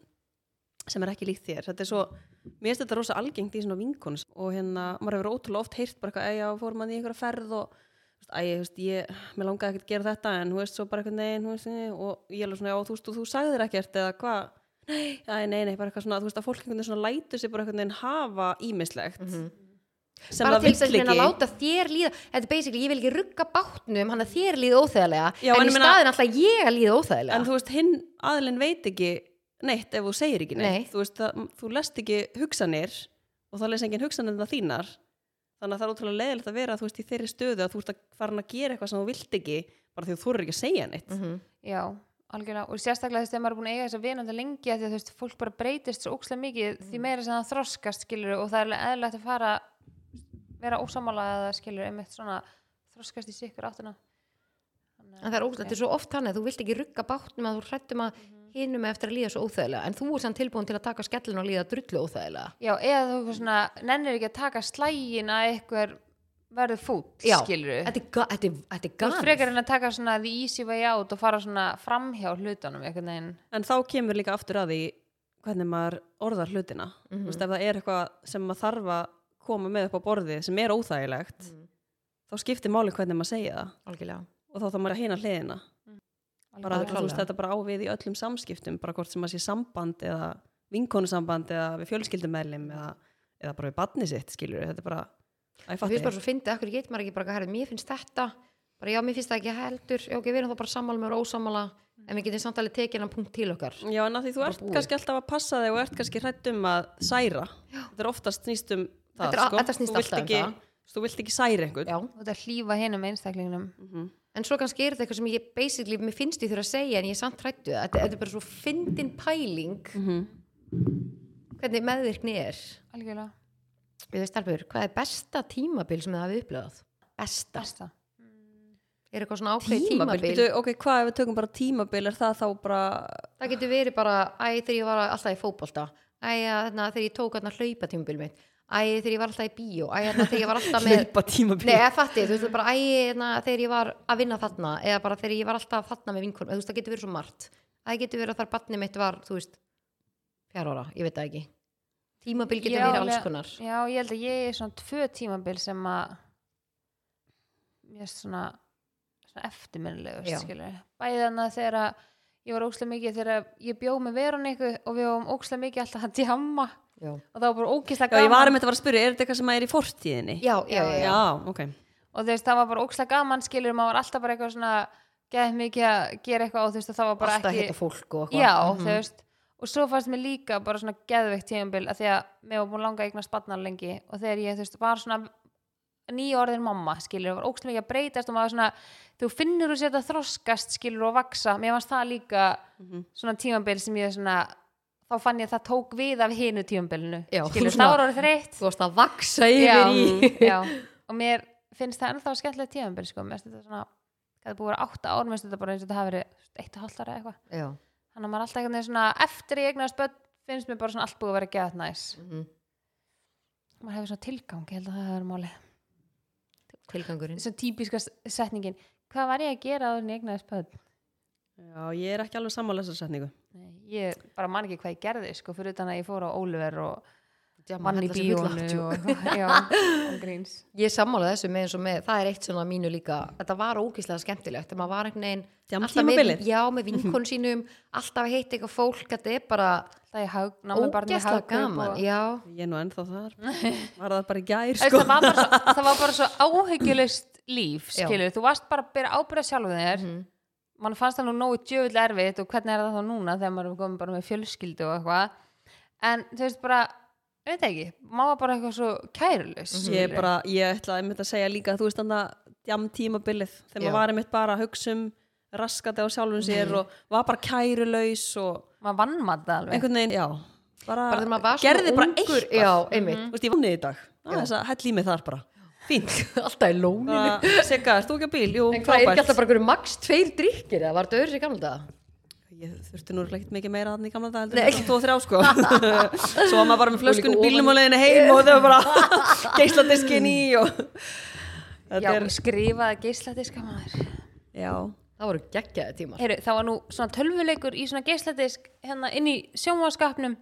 B: sem er ekki líkt þér þetta er svo, mér finnst þetta rosa algengt í svona vinkunns og hérna, maður hefur ótrúlega oft heyrt bara eitthvað, æja, fórum hann í einhverja ferð og þú veist, æja, þú veist, ég, mér langaði ekkert að gera þetta en þú veist, svo bara eitthvað, nein, þú veist eh, og ég er alveg svona, já, þú veist, og þú sagðir ekkert eða hvað, nei, æ, nei, nei, bara eitthvað svona þú veist, að fólk einhvern veginn svona lætur sig bara einhvern veginn hafa ímislegt sem
A: Mhm. bara
B: það
A: til þess
B: vill
A: að reyna að
B: ekki
A: láta þér líða þetta er basically, ég vil ekki rugga bátnum hann að þér líða óþægilega
B: Já,
A: en, í
B: en ég meina-
A: staðin alltaf ég að líða óþægilega
B: en þú veist, hinn aðlinn veit ekki neitt ef þú segir ekki neitt
A: Nei.
B: þú veist, það, þú lest ekki hugsanir og þá les enginn hugsanirna þínar þannig að það er ótrúlega leiðilegt að vera þú veist, í þeirri stöðu að þú ert að farin að gera eitthvað sem þú vilt ekki, bara því þú þorir ekki að segja neitt
A: Mhm.
C: já, algjörlega og sérstaklega þess að maður er búin að eiga þess að vinandi lengi af því að þú veist, fólk bara breytist svo ókslega mikið því
A: Mm.
C: meira sem það þroskast skilur og það er alveg eðlilegt að fara vera ósamála eða skilur einmitt svona þroskast í sikkur áttuna Þannig
A: En það er óslægt, þetta er svo oft hann að þú vilt ekki rugga bátnum að þú hrættum að hinum eftir að líða svo óþægilega en þú er sann tilbúin til að taka skellin og líða drullu óþægilega
C: Já, eða þú eitthvað svona, nennir ekki að taka slægin að eitthvað verður fúll,
A: Já,
C: skilur
A: Þetta er, ga- þetta er, þetta er
C: Þú ert
A: gana
C: frekar en að taka svona the easy way out og fara svona framhjá hlutunum einhvern veginn.
B: en þá kemur líka aftur að því hvernig maður orðar hlutina
A: Mhm.
B: þú veist, ef það er eitthvað sem maður þarf að koma með upp á borðið sem er óþægilegt
A: Mhm.
B: þá skiptir máli hvernig maður segja það
A: Algjörlega
B: og þá þarf maður að hina hliðina bara
A: Alveg
B: þetta, þú veist,
A: klárlega.
B: þetta bara á við í öllum samskiptum bara hvort sem að sé samband eða vinkonusamband eða við fjölskyldumælim eða, eða bara við badni sitt skilur þetta er bara, að ég
A: Þú
B: fatt
A: finnst bara svo fyndið, akkur getur maður ekki bara að herra mér finnst þetta, bara já, mér finnst það ekki heldur já, ok, við erum þá bara sammála með ósamála en við getum samt alveg tekið hennan punkt til okkar
B: já en að því þú
A: bara
B: ert
A: búið.
B: kannski alltaf að passa þig og ert kannski hrætt um að særa þetta er oftast snýst um það
A: Þetta er-
B: sko.
A: þetta snýst
B: þú vilt
A: alltaf um
B: ekki,
A: það.
B: þú vilt ekki særa einhvern Mhm.
A: Já,
C: Þú ert að hlýfa hinum einstaklingnum.
B: Mm.
A: en svo kannski er þetta eitthvað sem ég basically, mér finnst ég þurfa að segja en ég er samt hrættu það, þetta, þetta er bara svo fyndin pæling hvernig meðvirkni er
C: Algjörlega.
A: Við veist alveg, hvað er besta tímabil sem þið hafið upplöðað? Besta.
C: Besta.
A: Er eitthvað svona ákveð
B: tímabil,
A: tímabil?
B: Bíddu, ok, hvað ef við tökum bara tímabil er það þá bara
A: Það getur verið bara, æ, þegar ég var alltaf í fótbolta, æ, þarna, þegar ég tók alltaf hlaupa tímabil mitt, æ, þegar ég var alltaf í bíó, æ, þarna, þegar ég var alltaf með...
B: hlaupa tímabil
A: Nei, eða fattið, þú veist, bara æ, þarna, þegar ég var að vinna þarna, eða bara þegar ég var alltaf þarna með vinkonum, þú veist, það getur verið svo margt. Það getur verið að þar barnið mitt var, þú veist, fjár ára, ég veit það ekki. Tímabil getur
C: Já,
A: verið
C: alveg-
A: alls konar.
C: Já, ég held að ég er svona tvö tímabil sem að mér er svona, svona
A: Já.
C: eftirminnilegust, skilur. Bæðana þegar að ég var ókslega mikið þegar ég bjóð með verunni og við varum ókslega mikið alltaf að djamma
A: Já,
C: og það var bara ókislega
B: já,
C: gaman.
B: ég var um þetta að spyrja, er þetta eitthvað sem er í fortíðinni
A: já, já. já, já.
B: ok
C: og þú veist, það var bara ókslega gaman skilur, maður var alltaf bara eitthvað svona geð mikið að gera eitthvað og þú veist, og það var bara
A: Alltaf
C: ekki
A: hitta fólk og
C: já,
A: eitthvað. Mhm.
C: þú veist, og svo fannst mér líka bara svona geðveikt tímabil að því að mér var búin langa að eignast barnar lengi og þegar ég, þú veist, var svona nýorðin mamma, skilur, var ókslega mikið að breytast og maður var svona, þú finnur þú sér þetta þroskast, skilur, og vaksa mér fannst það líka
B: Mhm.
C: svona tímabil sem ég svona, þá fann ég að það tók við af hinu tímabilinu,
A: Já,
C: skilur,
A: svona-
C: þá var orðið þreytt
A: Þú veist að vaksa
C: já,
A: yfir í
C: já, og mér finnst það ennþá skemmtilegt tíðanbyrð sko, mér finnst þetta svona það er búið að vera átta ár, mér finnst þetta bara eins og þetta hafi verið eitt og hálft ára eitthvað,
A: Já.
C: þannig að maður er alltaf einhvern veginn svona eftir ég eignast börn finnst mér bara svona allt búið að vera geðað næs
A: Mhm.
C: maður hefur svona tilgang, ég held að það hefur máli
A: tilgangurinn
C: svona típiska s- setningin hvað var ég að gera áður en ég eignast börn
B: já, ég er ekki alveg sammála þessar setningu
C: Nei, ég bara man ekki hvað ég gerði sko, fyrir utan að ég fór á Óliver og vann í
A: Mann í bíónu
C: bíónu og, já, án gríns
A: sko. ég sammála þessu með eins og með það er eitt svona mínu líka þetta var ógeðslega skemmtilegt þegar maður var einhvern
B: Djam
A: veginn
C: um
A: alltaf með,
B: tímabilið?
A: já, með vinkonu sínum alltaf að heita eitthvað fólk þetta er bara
C: það ég hag, ná með barni í
A: ógeðslega
C: hagkaup
A: gaman
C: og-
A: já,
B: Ég er nú ennþá þar, var það bara í gær
C: sko.
B: sko.
C: það, var bara svo, það var bara svo áhyggjulust líf
A: Já.
C: skilur, þú varst bara að byrja ábyrða sjálf þér
B: Mhm.
C: mann fannst það nú nógu djöfull erfitt og hvernig er það þá núna þegar maður er komin bara með fjölskyldu og eitthvað en þú veist bara, ég veit ekki maður var bara eitthvað svo kærulust
B: Mhm. Ég er bara, ég ætlaði einmitt að segja líka þú veist þannig að jam tímabilið
A: Já.
B: þegar
A: Mhm.
B: maður var einmitt bara að hugsa um raskati á sjálfum sér og var bara kærulaus og
C: maður vannmatt það alveg
B: einhvern veginn, já bara,
A: bara þegar maður var
B: gerði bara
A: ungur,
B: eitthvað
A: já, einmitt
B: Þú veist, ég vann niður í dag, það er þess að hell í mig þar bara fínt
A: alltaf í lóninu
B: Bara, Sigga, ert þú ekki á bíl? Jú,
A: en hvað er ekki
B: frábært
A: alltaf bara einhverju max tveir drikkir eða var þetta öðru sér gamla dag?
B: Ég þurfti nú ekkert mikið meira þannig gamla dag heldur en tvo og þrjá sko Svo var maður bara með flöskunni
A: Og líka
B: bílum
A: ofan
B: og leiðinu heim og þau bara geisladiskin í og
C: Já,
B: Þetta er,
C: skrifaði geisladiska maður
B: já,
A: það voru geggjaði tímar
C: Heru, Það var nú svona tölvuleikur í svona geisladisk hérna inn í sjónváskapnum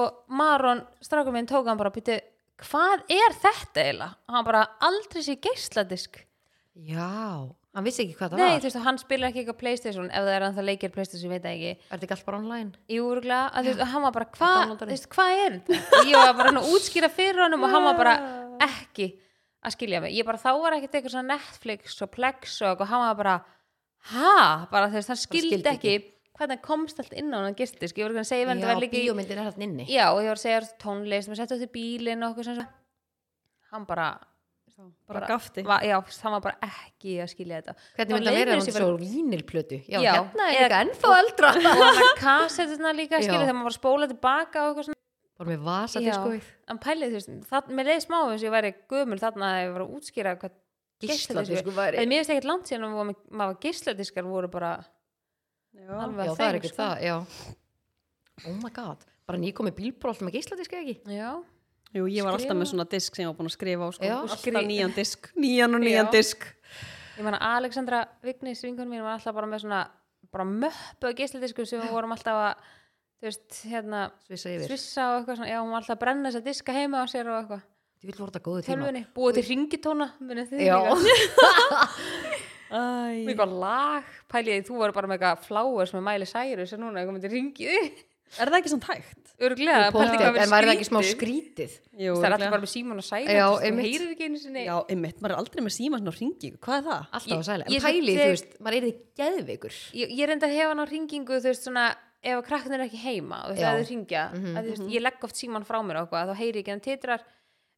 C: og Maron, strákum minn, tók hann bara býttu, hvað er þetta eiginlega? Og Hann bara aldrei sé geisladisk
A: já, hann vissi ekki hvað það
C: Nei,
A: var
C: þú veist, og hann spilar ekki eitthvað Playstation ef það er hann það leikir Playstation, ég veit það ekki
A: er þetta ekki allt bara online?
C: Jú, örugglega, að þú veist, og hann var bara, hvað,
A: downloadar
C: þú veist, hvað er þetta? Ég var bara hann að útskýra fyrir honum og hann var bara ekki að skilja mig. Ég bara, þá var ekkert eitthvað svona Netflix og Plex og eitthvað, hann var bara, ha, bara þú veist, hann skildi,
A: skildi
C: ekki hvernig hann komst allt inn á hann gistisk. Ég var ekki að segja, hvernig
A: já,
C: það var líka í,
A: bíómyndin er hann inni
C: já, og ég var að segja tónlist, maður setja út í bílinn og eitthvað svona. Hann bara,
B: bara gafti
C: va, já, hann var bara ekki að skilja þetta.
A: hvernig
C: Þá
A: myndi að
C: leið
A: vera
C: mér
A: hann
C: eins og ég
A: svo vínilplötu já,
C: Já,
A: hérna er
C: eða-
A: eitthvað ennþá eldra
C: og hann kassetuna líka,
A: Já.
C: skilja, þegar maður var að spóla tilbaka og eitthvað svona.
A: voru með vasa
C: Já,
A: diskóið
C: en pælið þú veist, það, mér leiði smá eins og ég væri gömul þarna að ég var að útskýra hvað geisladiskur
A: gísladisku sko, væri
C: en mér veist ekkert langt síðan að maður, maður geisladiskar voru bara
B: Já,
C: alveg
A: já, það
C: að
A: er
C: þeim sko.
A: ekkert það, já oh my god, bara nýkomi bílbróð alltaf með gísladiski ekki
C: Já,
B: Jú, ég var alltaf
C: Skrifa.
B: með svona disk sem ég var búin að skrifa á sko.
A: Já,
B: alltaf
A: skri-
B: nýjan disk, nýjan og nýjan
C: Já.
B: disk
C: ég meina Alexandra Vignis vinkunum mín var alltaf bara með svona bara möppu af geisladiskum sem við vorum alltaf að þú veist, hérna
A: svissa yfir,
C: svissa og eitthvað svona, já, hún var alltaf að brenna þess að diska heima á sér og eitthvað,
A: þú vil voru þetta góðu tíma
C: tölvunni búið til ringitóna, munið þið
A: já,
C: líka
B: Æ,
C: Með eitthvað lag, pæliði, þú voru bara með eitthvað flowers með Miley Cyrus en núna komið til ringið
B: Er það ekki svona tægt?
C: Örglega, pældi
A: Pottþétt,
C: hvað
A: en væri það ekki smá
C: skrítið.
A: skrítið
B: Jú,
C: Það er alltaf
B: örugglega.
C: bara með síman og sæla
A: Já,
C: Já, einmitt
A: einmitt.
C: Heyrir ekki einu sinni
B: Já, einmitt, maður er aldrei með síma svona hringi, hvað er það?
A: alltaf
C: Ég-
A: að sæla,
C: ég
A: en pæli,
C: segi-
A: þú veist maður er þið geðveikur
C: Ég, ég reynda að hefa hann á ringingu, þú veist, svona ef að krakknir er ekki heima og
A: Já. Mhm.
C: það þau ringja mm -hmm. að, þú veist,
B: Mhm.
C: ég legg oft síman frá mér og eitthvað, þá heyri ég ekki hann titrar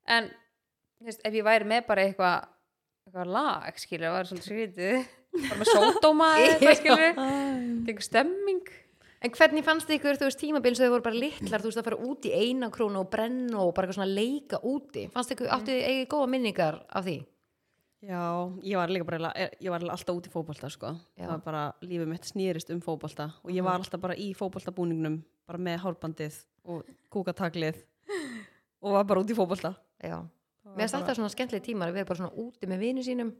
C: en, þú veist, ef ég væri með bara eitthvað eitthvað lag, skilur, það var svolítið skrítið bara með sódóma eða eitthvað, skilur eitthvað stemming
A: en hvernig fannst þið ykkur, þú veist, tímabil sem þau voru bara litlar, þú veist, að fara út í eina krónu og brenna og bara eitthvað svona leika úti fannst ykkur, áttu þið eigið góða minningar af því
B: Já, ég var líka bara, ég var alltaf út í fótbolta, sko.
A: Já.
B: Það var bara, lífið mitt snýrist um fótbolta og ég var alltaf bara í fótboltabúningnum, bara með hárbandið og kúkataglið og var bara út í fótbolta.
A: já, mér finnst alltaf svona skemmtileg tímar að vera bara svona úti með vinu sínum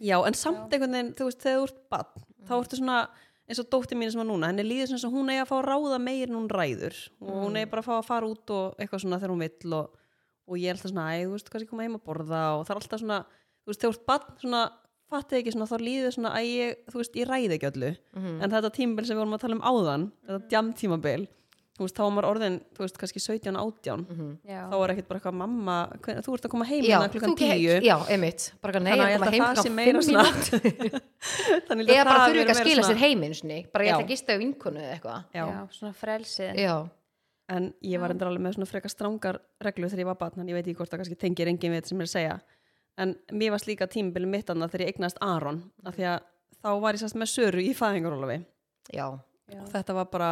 B: Já, en samt einhvern veginn, þú veist, þegar þú ert bann, þá
A: Mm.
B: ertu svona eins og dóttir mín sem var núna, henni líður sem hún eigi að fá að ráða meir en hún ræður og
A: Mm.
B: hún eigi bara að fá að fara út og eitthvað svona þegar hún vill og, og ég er alltaf svona, æ, þú veist, kannski koma heim að borða og það er alltaf svona, þú veist, þegar þú ert bann svona, fattið ekki svona, þá líður svona að ég, þú veist, ég ræði ekki öllu
A: Mhm.
B: en þetta tímabil sem við vorum að tala um áðan þetta djamtímabil, þú veist, þá var maður orðin, þú veist, kannski 17, 18
C: Já,
B: þá er ekkit bara eitthvað, mamma, hven, þú ert að koma heim
A: Mhm. já,
B: hérna klukkan
A: þú ekki-
B: 10
A: já, einmitt, bara eitthvað, nei,
B: Þannig að
A: ég
B: ég
A: er að koma
B: held að það sé
A: heim
B: meira
A: klukkan
B: svona-
A: 5 mínútur.
B: Þannig
A: eða
B: að
A: bara
B: það
A: þurfi
B: hefur
A: ekki að
B: verið
A: skila
B: svona-
A: sér heiminn sinni bara ég ætla
B: Já.
A: að gista á vinkonu eða eitthvað
B: Já.
C: já svona frelsið
A: já,
B: en ég var endur alveg með svona frekar strangar reglur þegar ég var batn, en ég veit ekki hvort það kannski tengir engin við þetta sem ég er að segja en mér var slíka tímabili mitt annað þegar ég eignast Aron af því að þá var ég sérst með Söru í fæðingarólafi
A: já,
B: og þetta var bara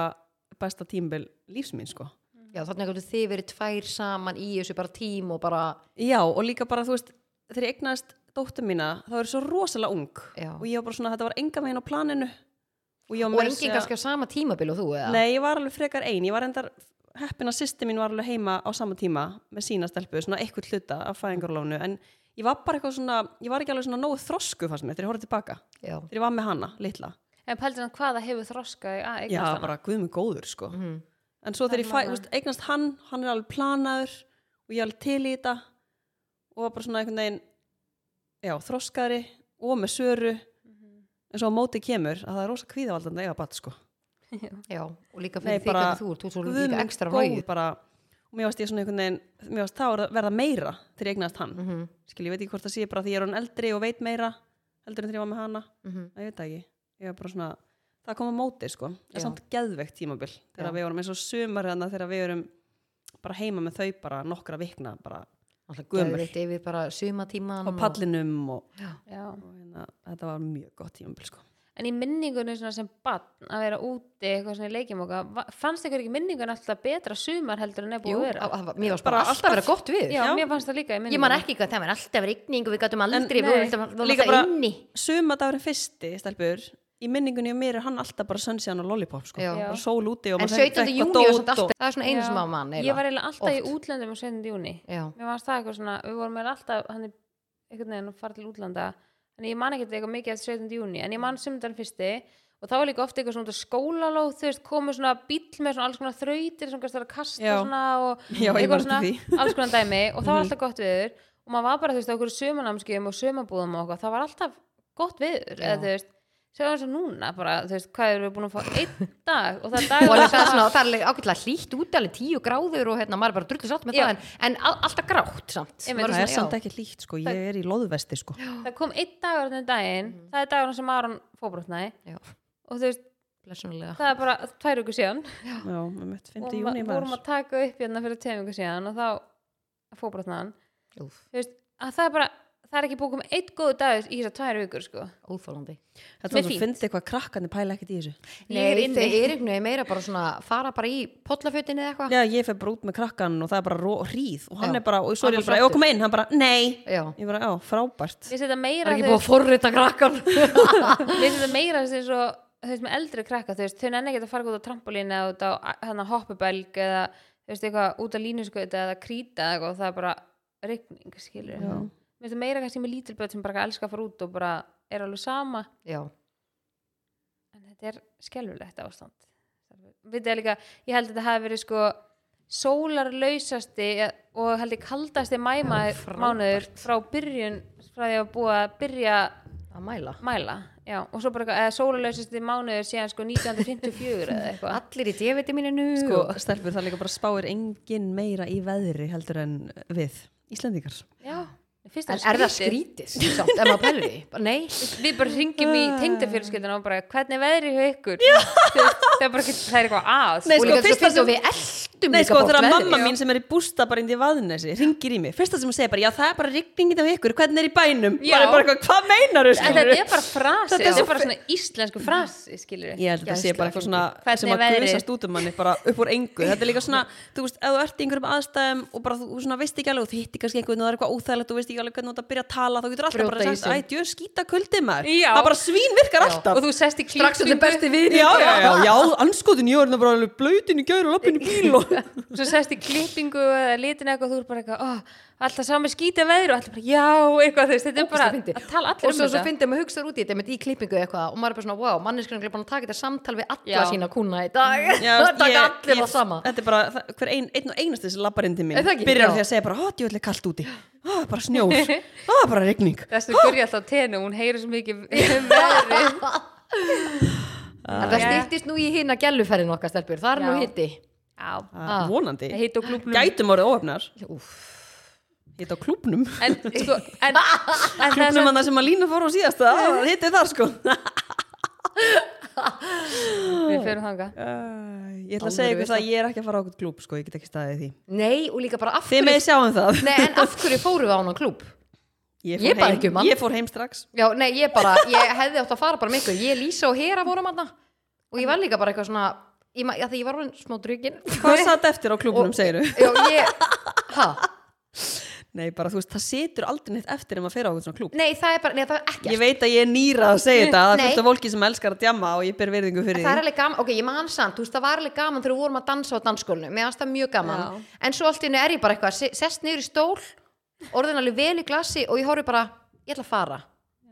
B: besta tímabil lífsmín sko
A: já þannig að þið verið tvær saman í þessu bara tím og bara
B: já og líka bara þú veist þegar ég eignast dóttur mína þá er ég svo rosalega ung
A: Já.
B: og ég var bara svona þetta var enga megin á planinu og, ég
A: og
B: var meira að
A: enginn
B: segja-
A: kannski á sama tímabil og þú eða
B: Nei, ég var alveg frekar ein, ég var endar heppin að sýsti mín var alveg heima á sama tíma með sína stelpu, svona eitthvað hluta af fæðingarlónu, en ég var bara eitthvað svona ég var ekki alveg svona nógu þrosku fannst mér þegar ég horfði tilbaka,
A: já,
B: þegar ég var með hana, litla
C: En pældi hann hvað það hefur þroskaði að
B: Já,
C: eignast hana
B: bara guð mig góður, sko
A: Mhm.
B: en svo þegar ég fæ,
C: Þannig
B: þú
C: að-
B: veist, eignast hann hann er alveg planaður og ég er alveg til í þetta og var bara svona einhvern veginn já, þroskaðri og með söru
C: Mhm.
B: en svo á móti kemur að það er rosa kvíðavaldandi að eiga bat, sko
A: já, og líka
B: Nei,
A: fyrir því
B: bara-
A: hvernig þú ert þú ert
B: Guð
A: líka
B: minn
A: ekstra
B: góður,
A: náðu
B: bara, og mér varst ég svona einhvern veginn mér varst það að verða meira þegar ég eignast hann mm
A: Mhm.
B: skil ég veit ekki hvort það sé bara því ég er hann eldri og veit meira heldur en þegar ég var með hana
A: Mhm.
B: það ég veit það ekki, ég var bara svona það kom á móti sko, það
A: Já.
B: er samt geðveikt tímabil þegar
A: Já.
B: við vorum eins og sumar þarna þegar við vorum bara heima með þau bara nokkra vikna bara gömul.
A: Geðveikt yfir bara suma tíman
B: á pallinum og,
C: Já.
B: og hérna, þetta var mjög gott tímabil sko
C: en í minningunni svona sem bann að vera úti eitthvað svona í leikimóka fannst ykkur ekki minningun alltaf betra sumar heldur en er búið
A: Jú, á,
C: að vera
A: á, mér varst bara
B: Bara
A: alltaf að vera gott við
C: já,
B: já.
C: mér fannst það líka í
A: Ég
C: minningunni
A: man ekki hvað það var alltaf rigning og við gætum aldrei,
C: nei.
A: við vorum alltaf- vorum
B: Líka
A: alltaf
B: bara-
A: inni
B: sumadagurinn fyrsti, stelpur í minningunni og mér er hann alltaf bara sunshine og lollipop sko,
A: Já.
B: bara sól úti og
A: En
B: maður
A: 17.
B: fekk
A: júni
B: eitthvað
A: og samt
B: dót og-
A: alltaf, það er svona einu
C: Já.
A: sem á mann
C: ég var eiginlega alltaf í útlöndum á 7. júni
A: Já,
C: mér fannst það eitthvað svona, við vorum eiginlega alltaf hann er einhvern veginn að fara til útlanda en ég man ekki eitthvað mikið eftir 17. júni en ég man sumundan fyrsti og þá var líka ofta eitthvað svona út af skólalóð þú veist, komið svona bíll með svona alls konar þrautir sem gæst að kasta
B: Já.
C: svona og
B: Já, ég man
C: eitthvað
B: eftir
C: svona
B: því. Mhm.
C: alls konar dæmi og það var alltaf gott viður og maður var bara, þú veist, á okkur sömanamskjöfum og sömabúðum og eitthvað, það var alltaf gott viður eða þú veist, segja eins og núna bara, þú veist, hvað erum við búin að fá einn dag og það er
A: og
C: dagur
A: alveg það er svona, það er alveg ágætlega hlýtt út, alveg tíu gráður og hérna, maður er bara drullu sátt með
C: Já.
A: það en, en al- alltaf grátt samt
C: Einmitt,
A: Maður
B: það er
A: svona,
B: samt ekki líkt sko, ég er í loðvesti sko
C: það kom einn dagur þennan daginn
B: Mhm.
C: það er dagurinn sem Aron fóbrotnaði
A: Já,
C: og þú veist,
A: já, blessunarlega
C: það er bara tvær vikur síðan
B: já, með mitt
C: og
B: 5.
C: ma-
B: júni
C: vorum
B: maður
C: að taka upp hérna fyrir tveim vikur síðan og þá fóbrotnaðan
A: Úf,
C: þú veist, að það er bara það er ekki búið um eitt góðu dagur í þessar tvær vikur sko.
A: óþólandi
B: þetta
C: Mér
B: er svo
C: fínt.
B: fyndið hvað krakkarnir pæla ekkert í þessu
C: Ég er
A: Nei,
C: inni.
A: þeir eru einhvern veginn meira bara svona fara bara í pollafötinni eða eitthvað
B: já, ég fer bara út með krakkan og það er bara ró, hríð og hann
A: Já.
B: er bara, og svo er
A: Hann
B: ég
A: bara
B: bara, já,
A: sáttur.
B: kom inn, hann bara, nei
A: Já,
B: ég bara, já, frábært
C: við setja
A: það
C: meira
A: er ekki
C: þú
A: búið að forrita krakkan
C: veist, við setja meira þú veist, og, þú veist, með eldri krakka þú veist, þau nenni ekki að fara út á trampolínu eða út á hana, hoppubelg eða þú veist, eitthvað, út á línuskauta eða krýta eða eitthvað, og það er bara rigning skilur
B: Já.
C: við setja meira kannski með lítilböð sem bara elskar að fara út og bara er alveg sama
A: Já,
C: en þetta er skelfulegt ástand við það líka, ég held að þetta hafi verið sko sólarlausasti og held ég kaldasti
A: frábært.
C: mæmaður frá byrjun frá því að búa að byrja
A: að mæla
C: mæla já, og svo bara eitthvað, eða sólarlausasti mánuður síðan sko 1954 eða eitthvað
A: Allir í djöfitiminu
B: sko, stelpur, það er líka bara spáir engin meira í veðri heldur en við Íslendingar
C: já, fyrst
A: En er það skrítið samt, ef maður pælir því? Bara, Nei,
C: við bara ringjum í tengdafjörskildina og bara hvernig er veðrið hjá ykkur Þú veist, það er bara ekki, það er eitthvað að
B: Nei,
A: og
B: sko,
A: líka
B: fyrsta
A: þess að
B: sem-
A: við eldum
B: Nei
A: líka
B: sko
A: bort
B: þegar
A: veðrið.
B: mamma mín sem er í bústa bara indi í vaðnesi ringir í mig, fyrsta sem hún segir bara já það er bara rigningin af ykkur, hvernig er í bænum
C: Já.
B: bara, bara eitthvað, hvað meinar
C: en þetta er bara frasi,
B: sko, Þetta er
C: þetta
B: svo
C: er bara svona íslensku frasi skilur
B: ég held að þetta sé bara eitthvað svona
C: Hvernig
B: sem að
C: er veðrið?
B: guðsast út um manni bara upp úr engu þetta er líka svona, þú veist, ef þú ert í einhverjum aðstæðum og bara þú svona veist ekki alveg og þú hittir kannski einhvern og það er eitthvað óþægilegt og veist ekki alveg hvernig þú átt að byrja að tala þá getur alltaf
A: Brjóta
B: bara sagt,
A: ísinn.
B: æ, djöð skýta kuldi maður
C: Já.
B: það bara svín virkar alltaf
C: og þú sest í
A: strax þetta er besti vinur
B: já, já, já, já, anskotin, ég var hérna bara alveg blöytin í gæru og lappin í bíl og
C: og svo sest í klippingu eða litin eitthvað og þú er bara eitthvað, oh, alltaf sami skýta veður og alltaf bara, já, eitthvað þú veist, þetta er bara
A: Ógeðslega fyndið.
C: að tala allir
A: og svo,
C: um
A: svo
C: þetta
A: fyndið maður hugsaður út í þetta einmitt í klippingu eitthvað og maður er bara svona, wow, manneskjörnum er búin að taka þetta samtal við alla
C: Já.
A: sína kuna í dag
B: Já,
A: það taka
B: ég-
A: allir
B: ég-
A: það sama
B: Þetta er bara, það, hver ein, einn og einasti sem lappar inn til mín
A: Er það ekki?
B: byrjar á
A: Já.
B: því að segja bara, ó, djúvöldlega kalt úti ó, bara snjór, ó, bara regning
C: þess að gurja alltaf á tenu, hún heyrir svo mikið um veðrið
A: en það stýttist nú í hina gæluferðin okkar stelpur, það er nú
C: Já.
A: hitti
C: já,
B: ah, vonandi,
C: hitt og klúbnum
B: gætum orðið óöfnar
A: Úff.
B: hitt á klúbnum
C: en, sko, en, en það er
B: klúbnum
C: svo
B: hann sem að lína fór á síðasta hitti þar sko
C: við fyrir þanga
B: ég ætla að segja ykkur það, að ég er ekki að fara á okkur klúb sko, ég get ekki staðið í því
A: nei, og líka bara af
B: þið
A: hverju
B: með sjáum það
A: nei, en af hverju fórum við á hann klúb
B: ég
A: Ég
B: fór,
A: bara
B: heim,
A: ekki um hann.
B: ég fór heim strax
A: já, nei, ég bara, ég hefði átt að fara bara miklu ég, Lísa og Hera vorum aðna og ég var líka bara eitthvað svona ég, ma- já, því ég var orðin smá drugin
B: hvað satt eftir á klúbnum, segiru?
A: já, ég, ha,
B: nei, bara þú veist, það situr aldrei neitt eftir ef maður fer á okkur svona klúb
A: nei, það er bara, nei, það er ekki
B: Ég veit að ég er nýra að segja þetta Það
A: Nei.
B: er fullt af fólki sem elskar að djamma og ég ber verðingu fyrir
A: það er
B: því
A: alveg gaman, ok, ég man samt, þú veist, það var alveg gaman þegar við vorum að dansa á dansskólinu, mér fannst það mjög gaman
C: Já.
A: en svo allt í henni er ég bara eitthvað, se- sest niður í stól orðin alveg vel í glasi og ég horfi bara, ég ætla að fara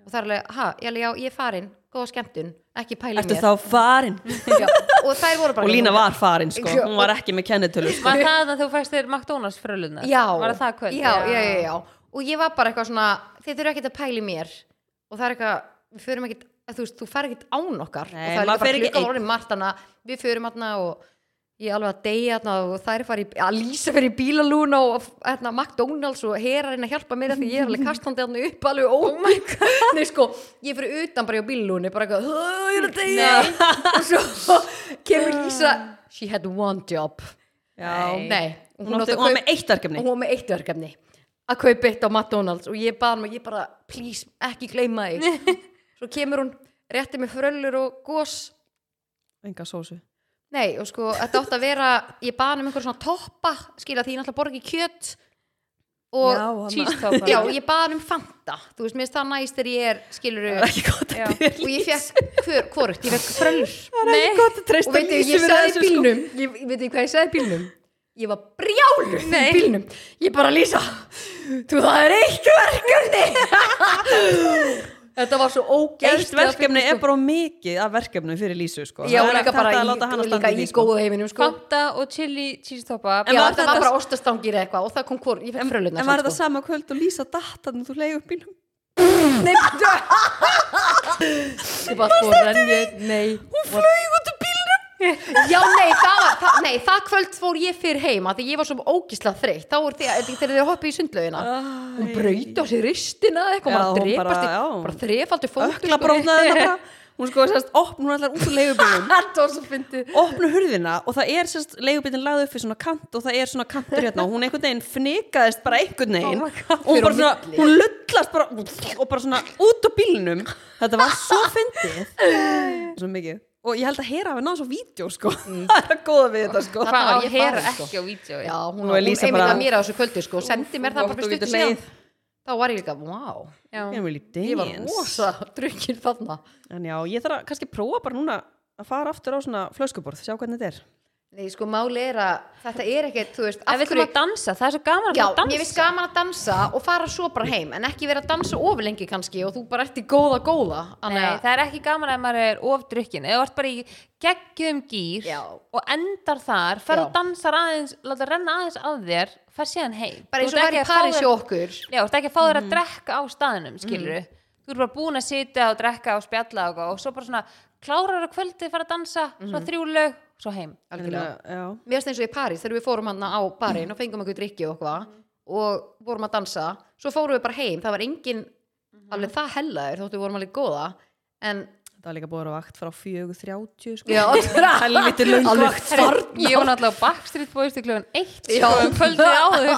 A: og það er alveg, ha, ég, alveg, já, ég er farin góða skemmtun, ekki pæli
B: Ertu
A: mér
B: þá farin?
A: já, og þær voru bara
B: Og Lína var farin sko,
A: Já.
B: hún var ekki með kennitölu sko.
C: var það að þú fæst þér McDonalds frölunar
A: já,
C: var það kvöld
A: já, já, já, já. og ég var bara eitthvað svona, þið þurfa ekkert að pæli mér og það er eitthvað, við förum ekkert þú veist, þú fer ekkert án okkar
B: Nei,
A: og það er
B: maður
A: líka
B: fer
A: bara
B: ekki
A: klukkan
B: einn.
A: orðin margt hana við förum hana og ég er alveg að deyja hana og þær fari í- að lýsa fyrir bílalúna og hana, McDonalds og hera reyna að hjálpa mér af því ég er alveg kastandi hana upp alveg oh my god, nei sko ég fyrir utan bara í bílalúni, bara eitthvað "Ugh, ég er að deyja og svo kemur Lísa, she had one job
B: Já.
A: nei,
B: Hún átti- hún var með eitt verkefni.
A: og hún var með eitt verkefni að kaupa eitt á McDonalds og ég baða mig, ég bara please, ekki gleyma þig svo kemur hún, rétti með fröllur og gós
B: enga sósu
A: nei og sko þetta átt að vera ég bað um einhver svona toppa skila því ég náttúrulega borgi kjöt og
B: Já,
A: já,
B: hana.
C: cheese toppar
A: ég bað um fanta þú veist, mér finnst það næst þegar ég er skilur
B: það er ekki gott
C: Já.
B: að byrja
A: og ég fekk hvort, ég fekk fröllur
B: það er ekki gott að
A: og
B: treysta
A: veitu, ég sko. sagði í
B: sko.
A: bílnum ég, ég veitu hvað ég sagði í bílnum ég var brjálu í bílnum ég bara lýsa þú það er eitt verkefni þetta var svo
B: eitt
A: ógeðslega
B: verkefni
A: fyndið,
B: er bara of mikið af verkefnum fyrir Lísu sko.
A: já,
B: Það er
A: líka
B: hægt
A: bara
B: að láta hana
A: í,
B: standa
A: líka
B: því,
A: í
B: sko.
A: góðu heiminum sko.
C: Fanta og chili cheese toppa
A: já,
B: En var
A: þetta
B: þetta-
A: var
C: sko,
A: bara ostastangir eða eitthvað og það kom hvort, ég fekk sko. fröluna
B: en var þetta sama kvöld og Lísa datt að þú leiði upp bílum
A: ég bara sko renni nei, hún flög út úr bílnum já, nei, það var það, nei, það kvöld fór ég fyrr heima því ég var svo ógislega þreytt þá voru þegar, þegar þeir hoppið í sundlaugina hún braut á sér ristina eða eitthvað
B: Já,
A: maður
B: hún
A: drepast
B: bara-
A: bara,
B: já.
A: í, bara sko. þrefaldi fótu
B: ökla brónaði þetta bara hún sko sérst opn, hún ætlar út úr leigubílum
A: þetta var svo fyndið
B: opnu hurðina og það er sérst leigubílinn lagði upp fyrir svona kant og það er svona kantur hérna og hún einhvern veginn fnikaðist bara einhvern veginn
A: Oh my God.
B: og hún
A: Fyrir á
B: bara svona,
A: milli.
B: hún lullast bara og bara svona út á bílnum þetta var svo fyndið svo mikið og ég held að hera hafi náð svo vídeo sko það er að góða við þetta sko
A: Mm. Það-
C: hvað á
A: ég
C: hér
A: bara, sko.
C: ekki á vídeo
A: já, hún,
B: Nú
A: hún
B: er Lísa
A: einmitt
B: bara-
A: að mér á þessu kvöldu sko, sendi mér það
B: Úff,
A: bara
B: þú
A: fyrir
B: getur
A: stutt síðan
B: leið.
A: þá var ég líka, wow
B: Ég er vel í
A: ég var
B: dance.
A: rosa drukkin þarna
B: en já, ég þarf að kannski prófa bara núna að fara aftur á svona flöskuborð, sjá hvernig þetta er
A: nei, sko, máli er að þetta er ekkert, þú veist,
C: en
A: af
C: við ætlum
A: hverju
C: að dansa, það er svo gaman að
A: Já,
C: dansa
A: mér finnst gaman að dansa og fara svo bara heim en ekki vera að dansa oflengi kannski og þú bara ert í góða góða
C: Nei, það er ekki gaman að maður er ofdrukkin eða þú ert bara í geggjum gýr
A: Já.
C: og endar þar,
A: Já.
C: fer og dansar aðeins láta renna aðeins á þér, fer síðan heim
A: bara eins
C: Þú
A: og
C: ert
A: væri
C: ekki að fá
A: parið
C: þér-
A: sér okkur
C: Já, þú ert ekki að fá þér
A: Mhm.
C: að drekka á staðinum, skilur Þú ert bara búin að sitja og drekka og spjalla og, og svo bara svona klárar á kvöldi fara að dansa, svo
A: Mhm.
C: þrjú lög, svo heim
A: algjörlega
B: já,
A: mér finnst eins og í París þegar við fórum hann á barinn og fengum einhver drikki og eitthvað og vorum að dansa svo fórum við bara heim, það var engin alveg það hellaður þóttu við vorum alveg góða en
B: það var líka búið að vera vakt frá 4.30 sko
A: Já,
B: helviti löng
A: alveg
B: vakt
A: farn
C: Ég var náttúrulega á Backstreet Boys til klugan eitt
A: Já.
C: sko, um kvöldið áður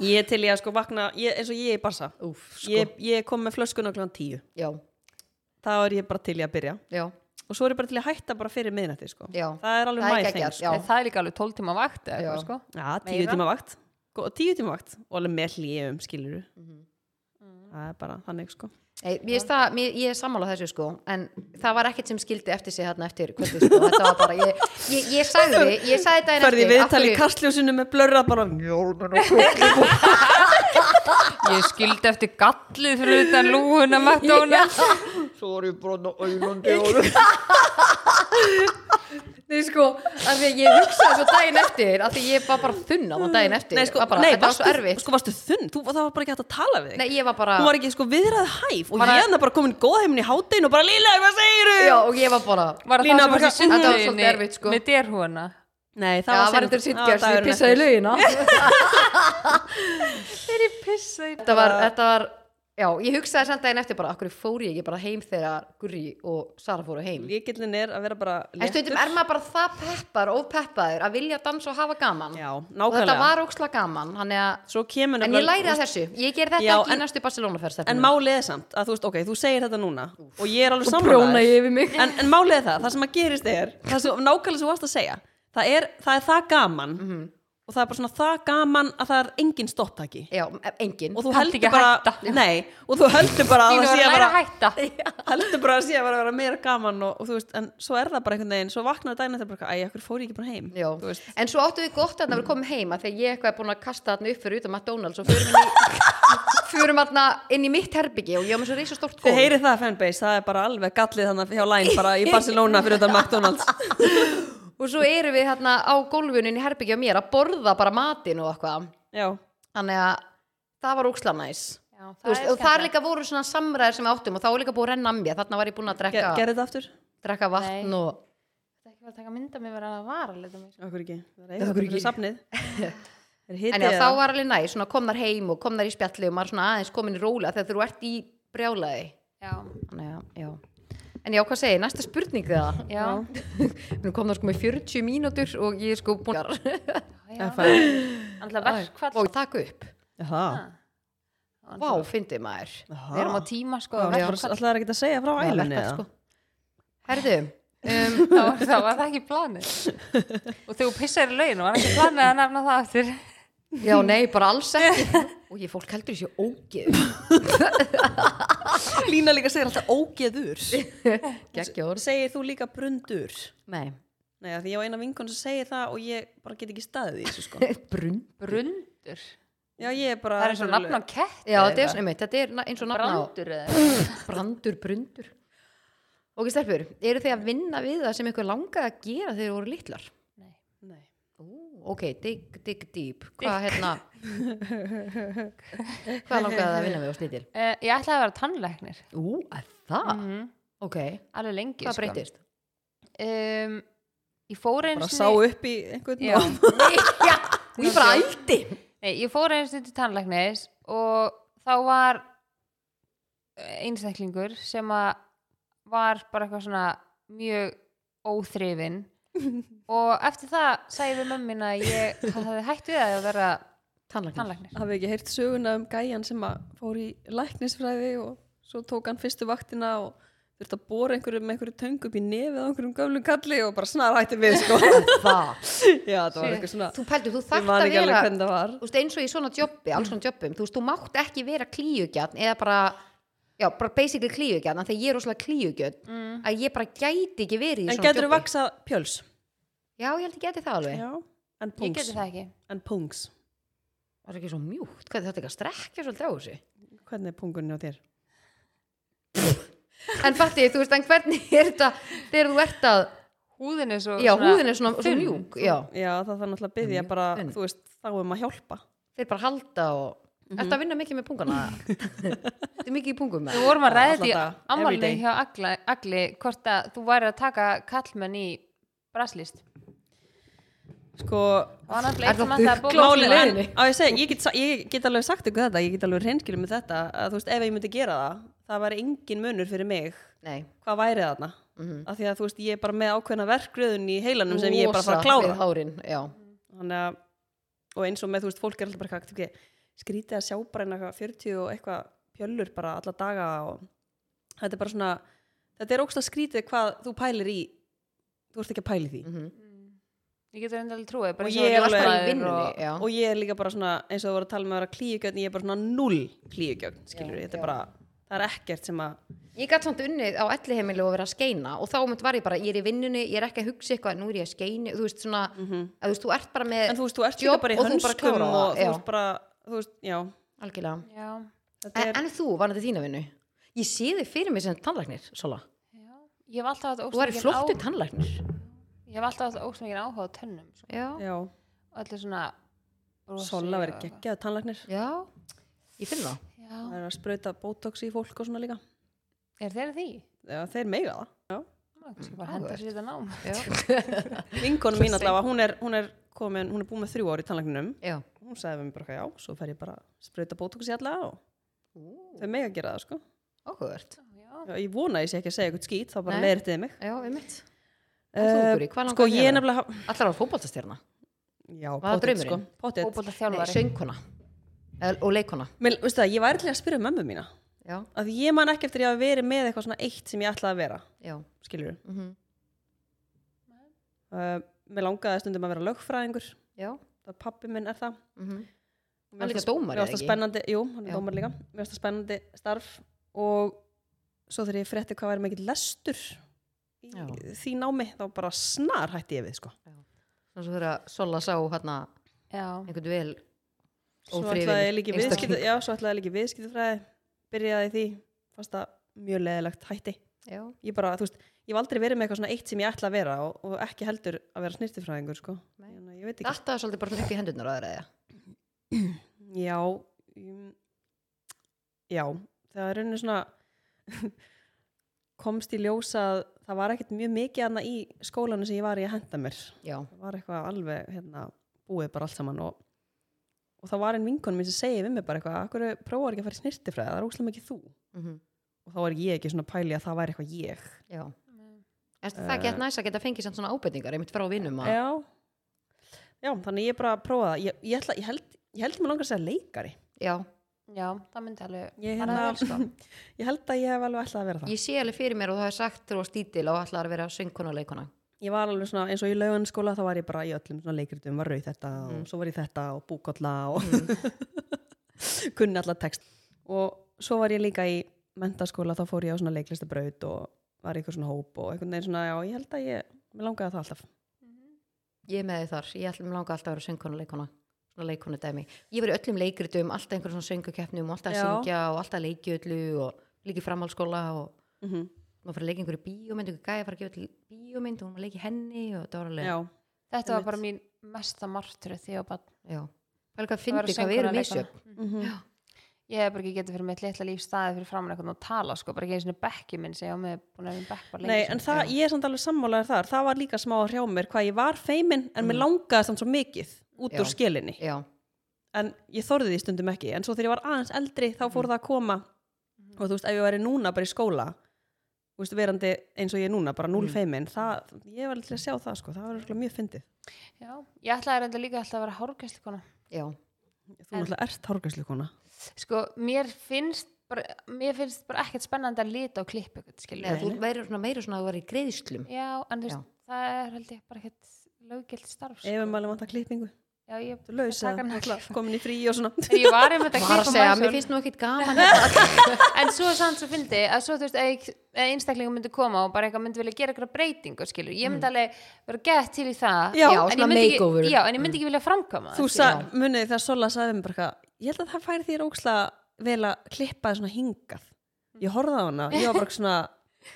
B: Ég er til ég að sko vakna, ég, eins og ég er í barsa
A: Úf, sko,
B: ég, ég kom með flöskuna kl. 10
A: já,
B: þá er ég bara til ég að byrja
A: já,
B: og svo er ég bara til ég að hætta bara fyrir miðnætti sko.
A: Já.
B: það er alveg
A: Það er
B: mæ
A: geggjað,
B: þeng
A: já.
B: sko.
C: En Það er líka alveg 12 tíma vakt eða
A: Já.
C: eitthvað, sko.
B: já, tíu
C: Meira.
B: tíma vakt Gó- tíu tíma vakt og alveg með hlýjum skilur
A: Mhm.
B: það er bara þannig sko.
A: Nei, ég, stað, mér, ég er sammála þessu sko en það var ekkert sem skildi eftir sig hérna eftir kvöldi, sko. þetta var bara ég, ég, ég sagði, ég sagði daginn eftir
B: ferði
A: af
B: viðtal í
A: hverju-
B: kastljósinu með blörra bara
C: Ég skildi eftir gallið fyrir utan lúuna McDonalds
A: Nei, sko, af því að ég hugsaði svo daginn eftir af því ég var bara þunn á það daginn eftir
B: nei, sko,
A: Var bara,
B: nei
A: þetta var
B: varstu,
A: svo erfitt
B: sko, varstu þunn þú, það var bara ekki hægt að tala við þig
A: Nei, ég var bara
B: hún var ekki sko viðræð hæf og
C: Bara-
B: ég hann bara komin góð heimin í hátinn og bara Líla, hvað segir
A: Já, og ég var bara
C: Var það
B: Lína
C: það sem
B: bara-
C: var svo
A: Þetta var
C: sundlauginni
A: svolítið erfitt, sko.
C: með derhúana
B: Nei,
A: Já,
B: það
A: var
B: seinna-
A: þetta
B: Já,
A: sittgjörst, ég
B: dagurinn
A: pissaði í
B: eftir.
A: laugina
C: Þeir eru pissa í
A: Þetta var, þetta var Já, ég hugsaði samt daginn eftir bara Akkur fór ég ekki bara heim þegar Gurri og Sara fóru heim
B: Líkillin er að vera bara
A: En stundum er maður bara það peppar, ópeppaður Að vilja dansa og hafa gaman
B: Já,
A: Og þetta
B: nákvæmlega
A: var óksla gaman þannig að-
B: Svo kemur
A: En ég
B: nefnilega-
A: læri að þessu Ég ger þetta
B: Já,
A: ekki
B: en-
A: í næstu Barcelona-ferð
B: En málið er samt að þú veist, ok, þú segir þetta núna Og ég er alveg
A: bróna
B: samanlæður
A: ég yfir mig
B: en, en málið er það, það sem að gerist er Það sem nákvæmlega sem þú varst að segja Það er það, er það gaman Og það er bara svona það gaman að það er engin stopptaki
A: Já, e, engin
B: Og þú
C: Kanntu ekki
B: heldur
C: að
B: bara
C: hætta.
B: Nei, og þú heldur bara að
C: Lína
B: það
C: var
B: sé
C: að læra
B: bara
C: að hætta
B: Heldur bara að sé að vera, vera meira gaman og, og þú veist, en svo er það bara einhvern veginn Svo vaknaði dæna þetta bara, æ, okkur fór ég ekki bara heim
A: Já,
B: Þú veist,
A: en svo áttu við gott að það var komið heima þegar ég eitthvað er búin að kasta þarna upp fyrir utan McDonalds og förum inn í, förum þarna inn í mitt herbyggi og ég á með svo reysa stórt
B: Þið
A: góð
B: heyrið það fanbase, það er bara alveg gallið þannig hjá Line bara í Barcelona fyrir utan McDonalds
A: og svo erum við hérna á gólfunum í herbyggi á mér að borða bara matinn og eitthvað
B: Já,
A: þannig að það var óksla næs
C: Já,
A: Þú veist, og þar líka voru svona samræðir sem við áttum og þá var líka búið að renna að mér þarna var ég búin að
B: Ge
A: drekka,
B: gerði þetta aftur?
A: drekka vatn
C: Nei.
A: og
C: Það er ekki bara að taka mynda mér að vara sko. leta mér
B: Okkur ekki, það
A: Af hverju
B: er eitthvað fyrir
A: ekki?
B: safnið Er hitið
A: en já, þá
B: eða?
A: var alveg næs, svona kom þar heim og kom þar í spjalli og maður svona aðeins komin í róla þegar þú ert í brjálaði
C: Já,
A: þannig að, já en já, hvað segir, næsta spurning það
C: já,
A: Nú kom það sko með 40 mínútur og ég er sko búin að
C: já
B: FR.
C: Alltaf verkfall
A: og taka upp.
B: Jaha.
A: Vá, fyndi maður.
B: Jaha.
C: Við erum á tíma sko
B: Já,
C: verkfall. sko.
B: Það er ekki að segja frá
A: Það var
B: ælunni
A: verkfall,
B: eða?
A: sko. Herðu, um,
C: þá var, þá var það ekki planið og þegar þú pissar í lauginu var ekki planið að nefna það aftur
A: já, nei, bara alls ekki. Og ég fólk heldur þessi ógeð.
B: Lína líka segir alltaf ógeður
A: Gekkjór.
B: Segir þú líka brundur
A: Nei,
B: Nei, af því ég á eina vinkon sem segir það og ég bara get ekki staðið í þessu sko
A: brun.
C: brundur,
B: Já, ég er bara
C: það er eins og nafn á kett
A: Já, þetta er svona, einmitt, þetta er na- eins og nafna á.
C: brandur eða
A: Brandur, brundur. Ok, stelpur, eru þið að vinna við það sem ykkur langaði að gera þegar þið voru litlar?
B: Nei.
A: Ú, ok, dig, dig, deep. Hvað, hérna, hvað langaði það að vinna við á snýtil?
C: Eh, ég ætlaði að vera tannlæknir
A: Ú, að það?
B: Mm.
C: Mhm.
A: Ok,
C: alveg lengi sko.
A: hvað breytist?
C: um, ég fór eins
B: Bara sá upp í einhvern
C: Já.
B: og-
A: Já, og ég bara ældi.
C: Nei, ég fór einu sinni til tannlæknis og þá var eh, einstaklingur sem að var bara eitthvað svona mjög óþrifin og eftir það sagði við mömmin að ég hafði hætt við að vera
A: Tannlæknir.
C: tannlæknir
B: Hafið ekki heyrt söguna um gæjan sem að fór í læknisfræði og svo tók hann fyrstu vaktina og þurfti að bóra einhverju með einhverju töng upp í nefið á einhverjum gömlum kalli og bara snar hætti við sko
A: Það.
B: Já, það var
C: Shit.
B: eitthvað svona
A: Þú pældur, þú
B: Ég
A: þarft
B: man
A: að
B: ekki alveg
A: vera,
B: hvernig það var
A: þú veist, eins og í svona jobbi, alls svona jobbum, þú veist, þú mátt ekki vera klíugjarn eða bara, já, bara basically klíugjarn, af því að ég er rosalega klíugjarn, að ég bara gæti ekki verið í
B: Mm. En
A: svona
B: getur þú
A: jobbi.
B: vaksa pjöls?
A: Já, ég held ég geti það alveg.
B: Já En
C: ég geti
B: pungs
C: það ekki
B: En pungs
A: Það er ekki svo mjúkt, hvað er þetta ekki að strekja svolítið á þessu?
B: Hvernig er pungurinn á þér?
A: En fatti, þú veist, en hvernig er þetta þegar þú ert að,
C: húðin er svo
A: já, húðin er svona, svona mjúk, já,
B: Já, það þarf náttúrulega að byggja
A: Mjög
B: bara,
A: þunn.
B: þú veist, þá er maður að hjálpa.
A: þeir bara halda og,
B: Mhm.
A: ertu að vinna mikið með pungana? Þetta er mikið í pungum með?
C: við vorum að ræða
B: Alla
C: því
B: daga,
C: ammálinu
B: everyday.
C: hjá Agla, Agli hvort að þú væri að taka kallmenn í braslist
B: Sko,
C: og hann að
A: Er
C: bleið
A: það
C: sem að það
A: buglað?
C: bóla
A: Málið
B: málið
A: er-
B: en, á ég segi, ég get, sa- ég get alveg sagt ykkur þetta, ég get alveg reynskilum með þetta, að þú veist, ef ég myndi gera það, það væri engin munur fyrir mig,
A: Nei, mhm.
B: hvað væri þarna? Mm Af því að þú veist, ég er bara með ákveðna verkgröðun í heilanum sem ég er bara að fara að
A: Rosa við
B: klára.
A: hárin, já.
B: Þannig að, og eins og með, þú veist, fólk er alltaf bara eitthvað, ekki, skrítið að sjá bara einhver 40 og eitthvað pjöllur bara alla daga og þetta er bara svona, þetta er ógst skrítið hvað þú pælir í, þú ert ekki að pæli því.
A: mhm.
C: ég getur enda alveg trúið bara
B: Og
C: eins
B: ég er
C: ljósmæður
B: alveg-
A: Bara í vinnunni,
C: og-
A: já.
B: og ég er líka bara svona eins og þú voru að tala með að vera klíugjögn ég er bara svona null klíugjögn skilur
A: Já,
B: þetta
A: já.
B: er bara, það er ekkert sem að
A: Ég gæti samt unnið á elli heimilu og verið að skeina og þá mynd var ég bara, ég er í vinnunni, ég er ekki að hugsa eitthvað, nú er ég að skeini, þú veist svona, að, þú veist, þú ert bara með
B: en þú veist, þú ert líka
A: Mhm. jobb
B: bara í
A: og þú bara
B: hönskum
A: klárar
B: og
A: það,
B: þú
A: já.
B: veist bara, þú veist, já
A: algjörlega.
C: já,
B: þetta
A: En,
B: er,
A: en þú, var þetta þína vinnu? Ég sé þig fyrir mig sem tannlæknir, Sola.
C: já ég hef alltaf átt
A: Þú
C: ósmikið
A: er flottu tannlæknir.
C: ég hef alltaf átt ósmikið áhuga á tönnum sko.
A: Já.
B: já,
C: og allir svona brosi
B: sola
C: og-
B: verið geggjað tannlagnir,
A: Já, ég finn það.
C: já,
B: það er að sprauta botox í fólk og svona líka,
C: er þeir því?
B: já, þeir meiga það
C: Má, Ég skal bara henda sér þetta nám
B: vinkonum mín allavega, hún er, hún er komin, hún er búin með þrjú ár í tannlagninum
A: Já.
B: hún sagði við mig bara, já, svo fer ég bara að sprauta botox í alla og þau mega gera það, sko
A: Óhugvöld.
C: já,
B: já, ég vona að ég sé ekki að segja eitthvað skýt, þá bara
A: Nei.
B: leiðir þið mig
A: Já, einmitt. En þú,
B: Eh,
A: Guri, hvað langar
B: sko,
A: þig að
B: ég er
A: vera?
B: nefnilega
A: Allar var fótboltastjarna.
B: Já,
A: það
B: pottet sko,
A: draumurinn?
B: pottet.
C: óbólta
A: Nei,
C: þjálfari
A: söngkona. El, og leikona.
B: Mér, veistu það, ég var alltaf að spyrja mömmu mína
A: Já,
B: að ég man ekki eftir að ég hafi verið með eitthvað svona eitt sem ég ætlaði að vera,
A: já.
B: skilur við
A: Mm
B: uh, Mér langaði stundum að vera lögfræðingur
A: Já.
B: það pappi minn er það
A: Mm Hann er
B: Mér fannst
A: líka dómari,
B: mér fannst
A: eða
B: það
A: ekki?
B: spennandi, Jú, hann
A: Já.
B: er dómar líka Mér finnst það spennandi starf og svo þegar ég frétti hvað væri mikill lestur í
A: Já.
B: því námi þá bara snar hætti ég við sko
A: Svo þegar Sola sá hérna
C: já,
A: einhvern vel
B: Svo
A: Óþrifinn
B: ætlaði ég líki
A: einstakling.
B: viðskipti, já, svo ætlaði ég líki viðskiptufræði byrjaði í því, fannst það mjög leðilegt hætti
A: Já,
B: ég bara, þú veist, ég hef aldrei verið með eitthvað svona eitt sem ég ætla að vera og, og ekki heldur að vera snirtifræðingur, sko.
A: Nei.
B: Þannig að Ég veit ekki.
A: þetta er svolítið bara svona upp í hendurnar á þér eða
B: Já, um, já, það er rauninu svona, komst í ljósa að það var ekkert mjög mikið annað í skólanu sem ég var í að henda mér.
A: Já,
B: Það var eitthvað alveg, hérna, búið bara allt saman og, og það var einn vinkonum minn sem segi við mig bara eitthvað, akkur prófaðu ekki að fara í snirtifræði, það er óslega mikið þú.
A: mhm,
B: Og þá var ég ekki svona að pæli að það væri eitthvað ég.
A: já Eh. En það get næst að geta fengið samt svona ábendingar einmitt frá vinnum að
B: já. já, þannig ég bara prófaði það. ég, ég, ætla, ég held ég held ég mig langar að segja leikari
A: Já,
C: já, það myndi alveg
B: Ég,
C: fara
B: hérna-
C: vel, sko.
B: ég held að ég hef alveg ætlað að vera það
A: Ég sé alveg fyrir mér og það er sagt þú á stítil og allar að vera söngkona og leikona.
B: ég var alveg svona, eins og í lauganskóla þá var ég bara í öllum svona leikritum, var rauð þetta og svo var ég þetta og búkolla og
A: Mm.
B: kunni allar text og svo var ég líka í mentaskóla þá fór ég á svona leiklistabraut og var í eitthvað svona hóp og einhvern veginn svona, já, ég held að ég mér langaði það alltaf
A: Ég er með þið þar, ég ætlum langa alltaf að vera söngkona og leikona svona leikonu dæmi. Ég var í öllum leikritum, alltaf einhverjum svona söngukeppnum, og alltaf að
B: Já.
A: syngja og alltaf að leiki öllu og líka í framhaldsskóla og
B: mm
A: maður fyrir að leika í einhverju bíómynd, einhverju gæja fara að gefa til bíómynd og hún var að leika í henni og það var alveg,
B: já,
C: þetta var
B: Einmitt.
C: bara mín mesta martröð því að bara
A: já. Það er hvað að
C: að
A: fyndi hvað
C: vera
A: við
C: söngkona
A: erum
C: og
A: í
C: leikona.
B: mm -hmm.
C: ég hef bara ekki getið fyrir mitt litla líf staðið fyrir framan eitthvað og tala sko, bara ekki einu sinni bekki minn sem ég á með búin að vera í bekk bara lengi sko.
B: Nei, en það, ég er samt alveg sammálaður þar það var líka smá að hrjá mér hvað ég var feimin en
C: Mm.
B: mér langaði samt svo mikið út
A: Já.
B: úr skilinni
A: já,
B: en ég þorði því stundum ekki en svo þegar ég var aðeins eldri þá
C: Mm.
B: fór það að koma og þú veist, ef ég væri núna bara í skóla þú veist, verandi eins og ég er núna bara
C: Mm.
B: núl feimin, það, ég var alveg til að sjá það sko, það var örugglega mjög fyndið
C: Já, ég ætlaði reynda líka alltaf að vera hárgæslikona
A: já,
B: þú náttúrulega ert hárgæslu kona
C: sko, mér finnst bara, mér finnst bara ekkert spennandi að lita og klippa eitthvað, skilur
A: eða þú verður svona meira svona að þú verður í greiðslum,
C: já, en þú
A: Já.
C: veist, það er held ég bara ekkert löggilt starf sko.
B: ef við maður vantar klippingu,
C: já, ég
B: þú lausa
C: taka hana að klippa.
B: komin í frí og svona
C: En ég var einmitt að
A: var að
C: klippa
A: segja,
C: maður
A: mér
C: svo-
A: finnst nú ekkit gaman hérna.
C: en svo er samt svo fyndi að svo þú veist að einstaklingum myndi koma og bara eitthvað myndi vilja gera eitthvað breytingu skilur, ég myndi alveg vera gett til í það
B: Mm. Já,
C: en,
A: svona
C: ég myndi
A: makeover.
C: ekki, já, en ég myndi ekki vilja framkama
B: þú
C: það,
B: sa, munið þegar Sola sagði mér bara eitthvað, ég held að það færi þér óksla vel að klippa þér svona hingað ég horfði á hana, ég var bara svona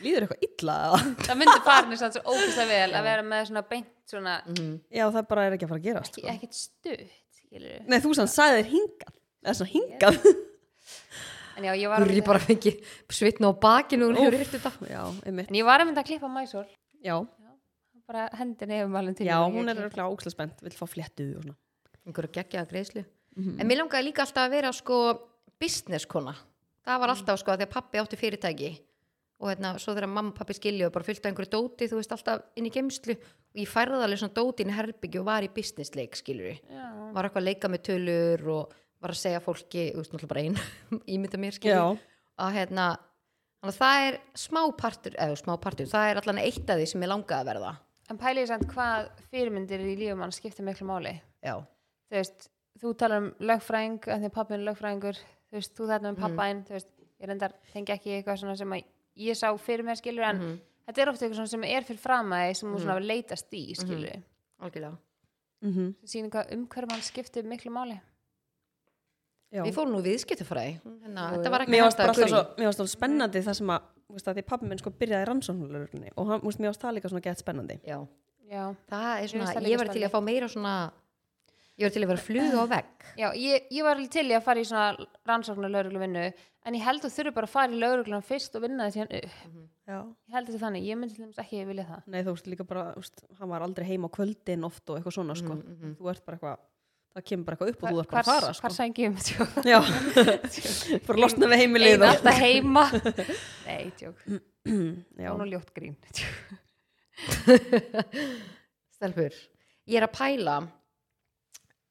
B: líður eitthvað illa eða?"
C: skilur. það myndi farinir samt svo ógæslega vel að vera með svona beint svona
B: Mm.
A: Mm.
B: já, það bara er ekki að fara að gerast
C: ekki,
B: sko.
C: ekkert stutt skilur.
B: nei, þú sann sagði þér hingað eða svona hingað
C: en já, ég
A: Þú
C: var
A: er ég
C: einmitt-
A: bara fengið svitna á bakinu og hún hefur þetta.
B: já, einmitt
C: en ég var að mynda að klippa mæsól
B: já,
C: bara hendin yfir mælum til
B: já
C: mín og ég
B: hún er
C: klippa.
B: örgulega óksla spennt vill fá fléttu og svona
A: einhverju geggjaða greiðslu
C: Mhm.
A: en mér langaði líka alltaf að vera sko business kona, það var alltaf sko þegar pappi átti fyrirtæki og hérna, svo þegar mamma og pappi skilju og bara fylgta einhverju dóti, þú veist, alltaf inn í geimslu og ég færði alveg svona dóti inn í herbyggju og var í business leik, skiljur
C: Já.
A: var eitthvað að leika með tölur og var að segja fólki, þú veist, náttúrulega bara ein ímynda mér,
B: Já.
A: skiljur að hérna, þannig að það er smá partur, eða smá partur, það er allan eitt af því sem ég langaði að verða
C: en pæli ég samt hvað fyrirmyndir í lífum mann skipta miklu máli
A: já,
C: þú veist, þú talar um lögfræðing en því pappin er lögfræðingur þú veist, þú þetta
B: Mm.
C: um pappaðinn, þú veist ég reyndar tengi ekki eitthvað svona sem að ég sá fyrir mér skilur
B: Mm.
C: en
A: Mhm.
C: þetta er ofta eitthvað svona sem er fyrir framæði sem þú svona leitast í
B: Mhm.
C: skilur mm -hmm.
A: algjörlega
B: mm
C: sýnir hvað umhverfum hann skiptir miklu máli
B: Já.
A: Við fórum nú viðskiptafræði hérna, Þetta var ekki
B: mér varst bara
A: hægt að
B: alltaf svo,
A: gurra í.
B: mér varst alltaf spennandi það sem að, þú veist, að því pappi minn sko byrjaði rannsóknulörunni og hann, þú veist, mér varst það líka svona gett spennandi
A: Já,
C: já,
A: það er
C: finnst
A: svona,
C: það
A: ég
C: líka
A: var til í að fá meira svona Ég var til að vera flugu á vegg
C: já ég, ég var alveg til í að fara í svona rannsóknar lögreglu vinnu en ég held að þurfi bara að fara í lögreglunum fyrst og vinna þessi hann upp
B: já.
C: ég held þetta þannig, ég myndi til dæmis ekki vilja það
B: nei þú veist líka bara, þú veist, hann var aldrei heima á kvöldin oft og eitthvað svona sko
A: Mm.
B: þú ert bara eitthvað, það kemur bara eitthvað upp og þú ert bara að fara
C: hvar
B: sko.
C: sækjum ég um þetta?
B: já, bara losna við heimilið
C: Eina
B: og-
C: alltaf heima Nei, tjók
B: já,
C: og nú ljótt grín
A: Stelpur, ég er að pæla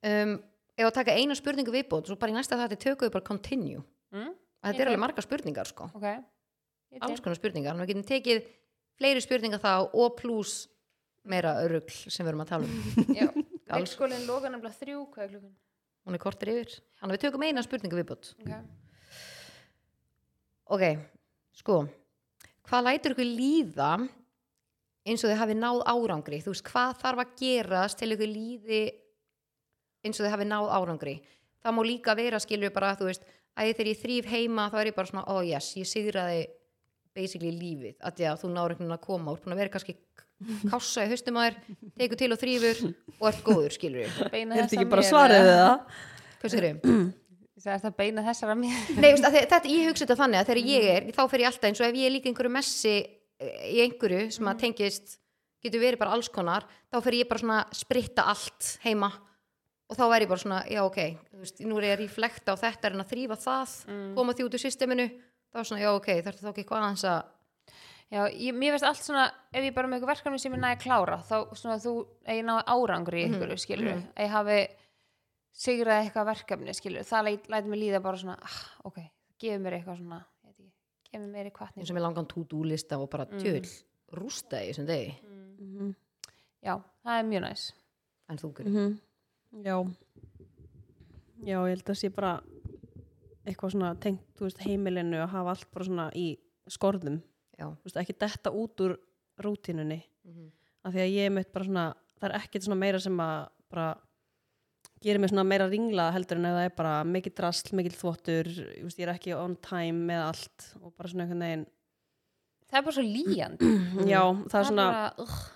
A: um, Ef að taka eina spurningu viðbót Svo bara í næsta þetta tökum við bara continue
C: mm?
A: Þetta er alveg margar spurningar sko
C: ok Ég
A: Alls
C: til.
A: konar spurningar, Þannig að við getum tekið fleiri spurningar þá og pluss meira örugl sem við erum að tala um
C: Já. leikskólinn loka nefnilega þrjú hvað er klukkan
A: Hún er kortir yfir Þannig að við tökum eina spurningu viðbót
C: okay.
A: Ok, sko Hvað lætur ykkur líða eins og þið hafi náð árangri þú veist, hvað þarf að gerast til ykkur líði eins og þið hafi náð árangri það má líka vera skilur bara þú veist, að þegar ég þrýf heima þá er ég bara svona, oh yes, ég sigraði basically lífið, að því að þú náður einhvern veginn að koma, þú ert búin að vera kannski k- kássa í haustum að þér, tekur til og þrýfur og ert góður, skilur við
C: beina
B: er
C: þess
B: þetta
C: að
B: ekki bara
C: mér,
B: svarið
C: eða?
B: við það
A: Hvað segirðu?
C: Ég sagði, er þetta beina þessar að mér
A: Nei, veist, að þe- þetta, ég hugsa þetta þannig að þegar ég er þá fer ég alltaf eins og ef ég er líka einhverju messi eh, í einhverju sem að tengist getur verið bara alls konar þá fer ég bara svona að spritta allt heima og þá er ég bara svona, já ok þú veist, nú er ég að reflekta á þetta en að þrýfa það, koma því út úr systeminu þá er svona, já ok, þarf þá ekki eitthvað aðeins að
C: já, ég, mér veist allt svona ef ég er bara með eitthvað verkefni Mhm, sem ég næði að klára þá svona þú, að ég náði árangri í ykkur skilur, að ég hafi sigraði eitthvað verkefni skilur, það læt, læt mig líða bara svona ah, ok, gefur mér eitthvað svona ég veit ekki, gefur mér eitthvað
A: eins og með langan to-do lista og bara
C: Mm.
A: tjöl rústa í þessum degi
B: mm
C: já, það er mjög næs
A: en þú gerir
B: -hmm. Já Já, ég held að sé bara eitthvað svona tengt þú veist, heimilinu að hafa allt bara svona í skorðum,
A: já,
B: þú veist, ekki detta út úr rútinunni
A: Mhm.
B: af því að ég er meitt bara svona, það er ekkert svona meira sem að bara gerir mig svona meira ringlaða heldur en að það er bara mikið drasl, mikið þvottur ég veist, ég er ekki on time með allt og bara svona einhvern veginn
C: það er bara svo líjand
B: já, Mhm. það er svona,
C: bara, ugh,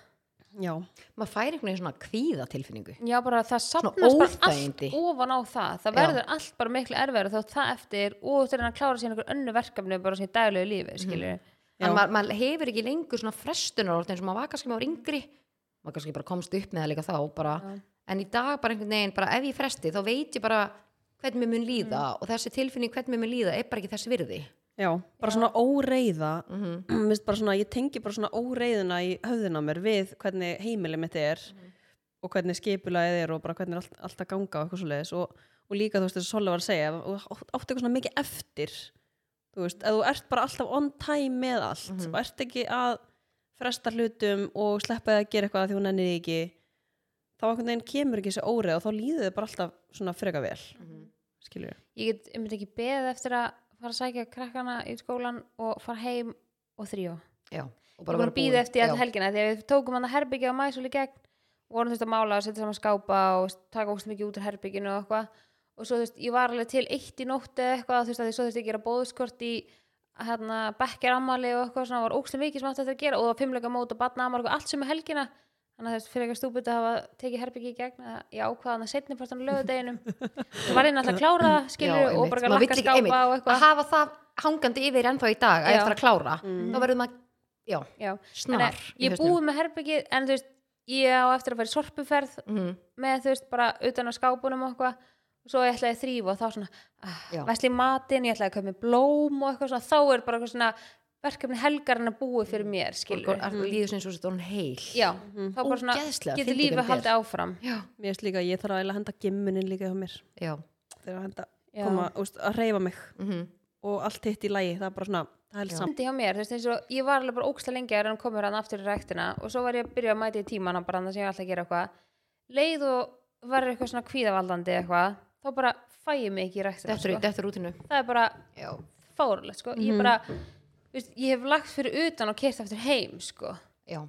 B: já,
A: maður fær einhvern veginn svona kvíða tilfinningu
C: já, bara það sapnast bara allt
A: óþægindi.
C: ofan á það það
A: Já.
C: verður allt bara miklu erfæri þótt það eftir og þegar hann klára sér einhver önnu verkefni bara svona í daglegu lífi skilur
A: en
B: Já.
A: maður mað hefur ekki lengur svona frestunar orð eins og maður var kannski maður var yngri maður kannski bara komst upp með það líka þá bara, en í dag bara einhvern veginn bara ef ég fresti þá veit ég bara hvernig mér mun líða
C: Mm.
A: og þessi tilfinning hvernig mér mun líða er bara ekki þess virði
B: já bara svona óreiða
A: mm
C: Mhm.
A: -hmm.
B: Mér finnst bara svona, ég tengi bara svona óreiðuna í höfðina á mér við hvernig heimilið mitt er og hvernig skipulaðið er og bara hvernig er allt, allt að ganga og eitthvað svoleiðis og, og líka þú veist þess að Sola var að segja og átt- áttu eitthvað svona mikið eftir þú veist, að þú ert bara alltaf on time með allt og ert ekki að fresta hlutum og sleppa þig að gera eitthvað af því hún ennir ekki þá einhvern veginn kemur ekki þessi óreið og þá líður þið bara alltaf svona freka vel skilur ég
C: ég get um ekki beðið eftir að fara að sækja krakkana í skólan og fara heim og þrjá
A: já, og
C: ég var að býða eftir þetta helgina því að við tókum hann að herbyggja á mæsul í gegn og vorum þú veist að mála og setja saman skápa og taka ógst mikið út úr herbygginu og eitthvað og svo þú veist, ég var alveg til eitt í nótt eða eitthvað þú veist að því svo þú veist ég gera bóðskort í hérna, bekkjar ammali og eitthvað svona var ógst mikið sem átti eftir að gera og það var fimmleika mót og batna ammali og allt sem er helgina þannig að þú veist, fyrir eitthvað stúbut að hafa tekið herbyggi í gegn að ég ákvaða hann að setni partan á lögadeginum svo var ég náttúrulega að klára það, skilurðu, og bara
A: maður
C: lakka
A: vill ekki
C: skápa og
A: einmitt, að
C: eitthvað
A: hafa það hangandi yfir ennþá í dag að
C: Já.
A: eftir að klára þá verður maður, já,
C: Já. Þannig
A: snar
C: að ég búið með herbyggið en þú veist, ég á eftir að fara í sorpuferð
A: mm,
C: með þú veist bara utan á skápunum og eitthvað og svo ætlaði ég að þrýfa og þá svona
A: Já.
C: ah, vesli matinn, ég ætlaði að köpa mér blóm og eitthvað svona, þá er bara eitthvað svona verkefni helgar en að búi fyrir mér skilur
A: og mm. líður sem svo þetta hún heil
C: já, þá bara svona
A: Ógeðslega,
C: getur
A: fyndi hvernig
C: lífið haldið
A: þetta
C: áfram
A: já,
B: Mér finnst líka að ég þarf að eiginlega henda gimmunin líka hjá mér
A: já,
B: þegar að henda,
C: Já.
B: koma, úst, að reyfa mig
A: mhm
B: og allt hitt í lagi, það er bara svona það er samt
C: Fyndi hjá mér, þú veist eins og ég var alveg bara óksla lengi að hann komur hann aftur í ræktina og svo var ég að byrja að mæta í tíman og bara annars ég alltaf að gera eitthvað leið og verður eitthvað svona kvíðavaldandi eitthvað, þá bara fæ ég mig ekki í ræktina
A: Þetta er,
C: sko.
A: þetta er rútinu
C: það er bara
A: Já, Mhm.
C: fárlega sko. ég bara, viðst, ég hef lagt fyrir utan og kert eftir heim sko.
A: já,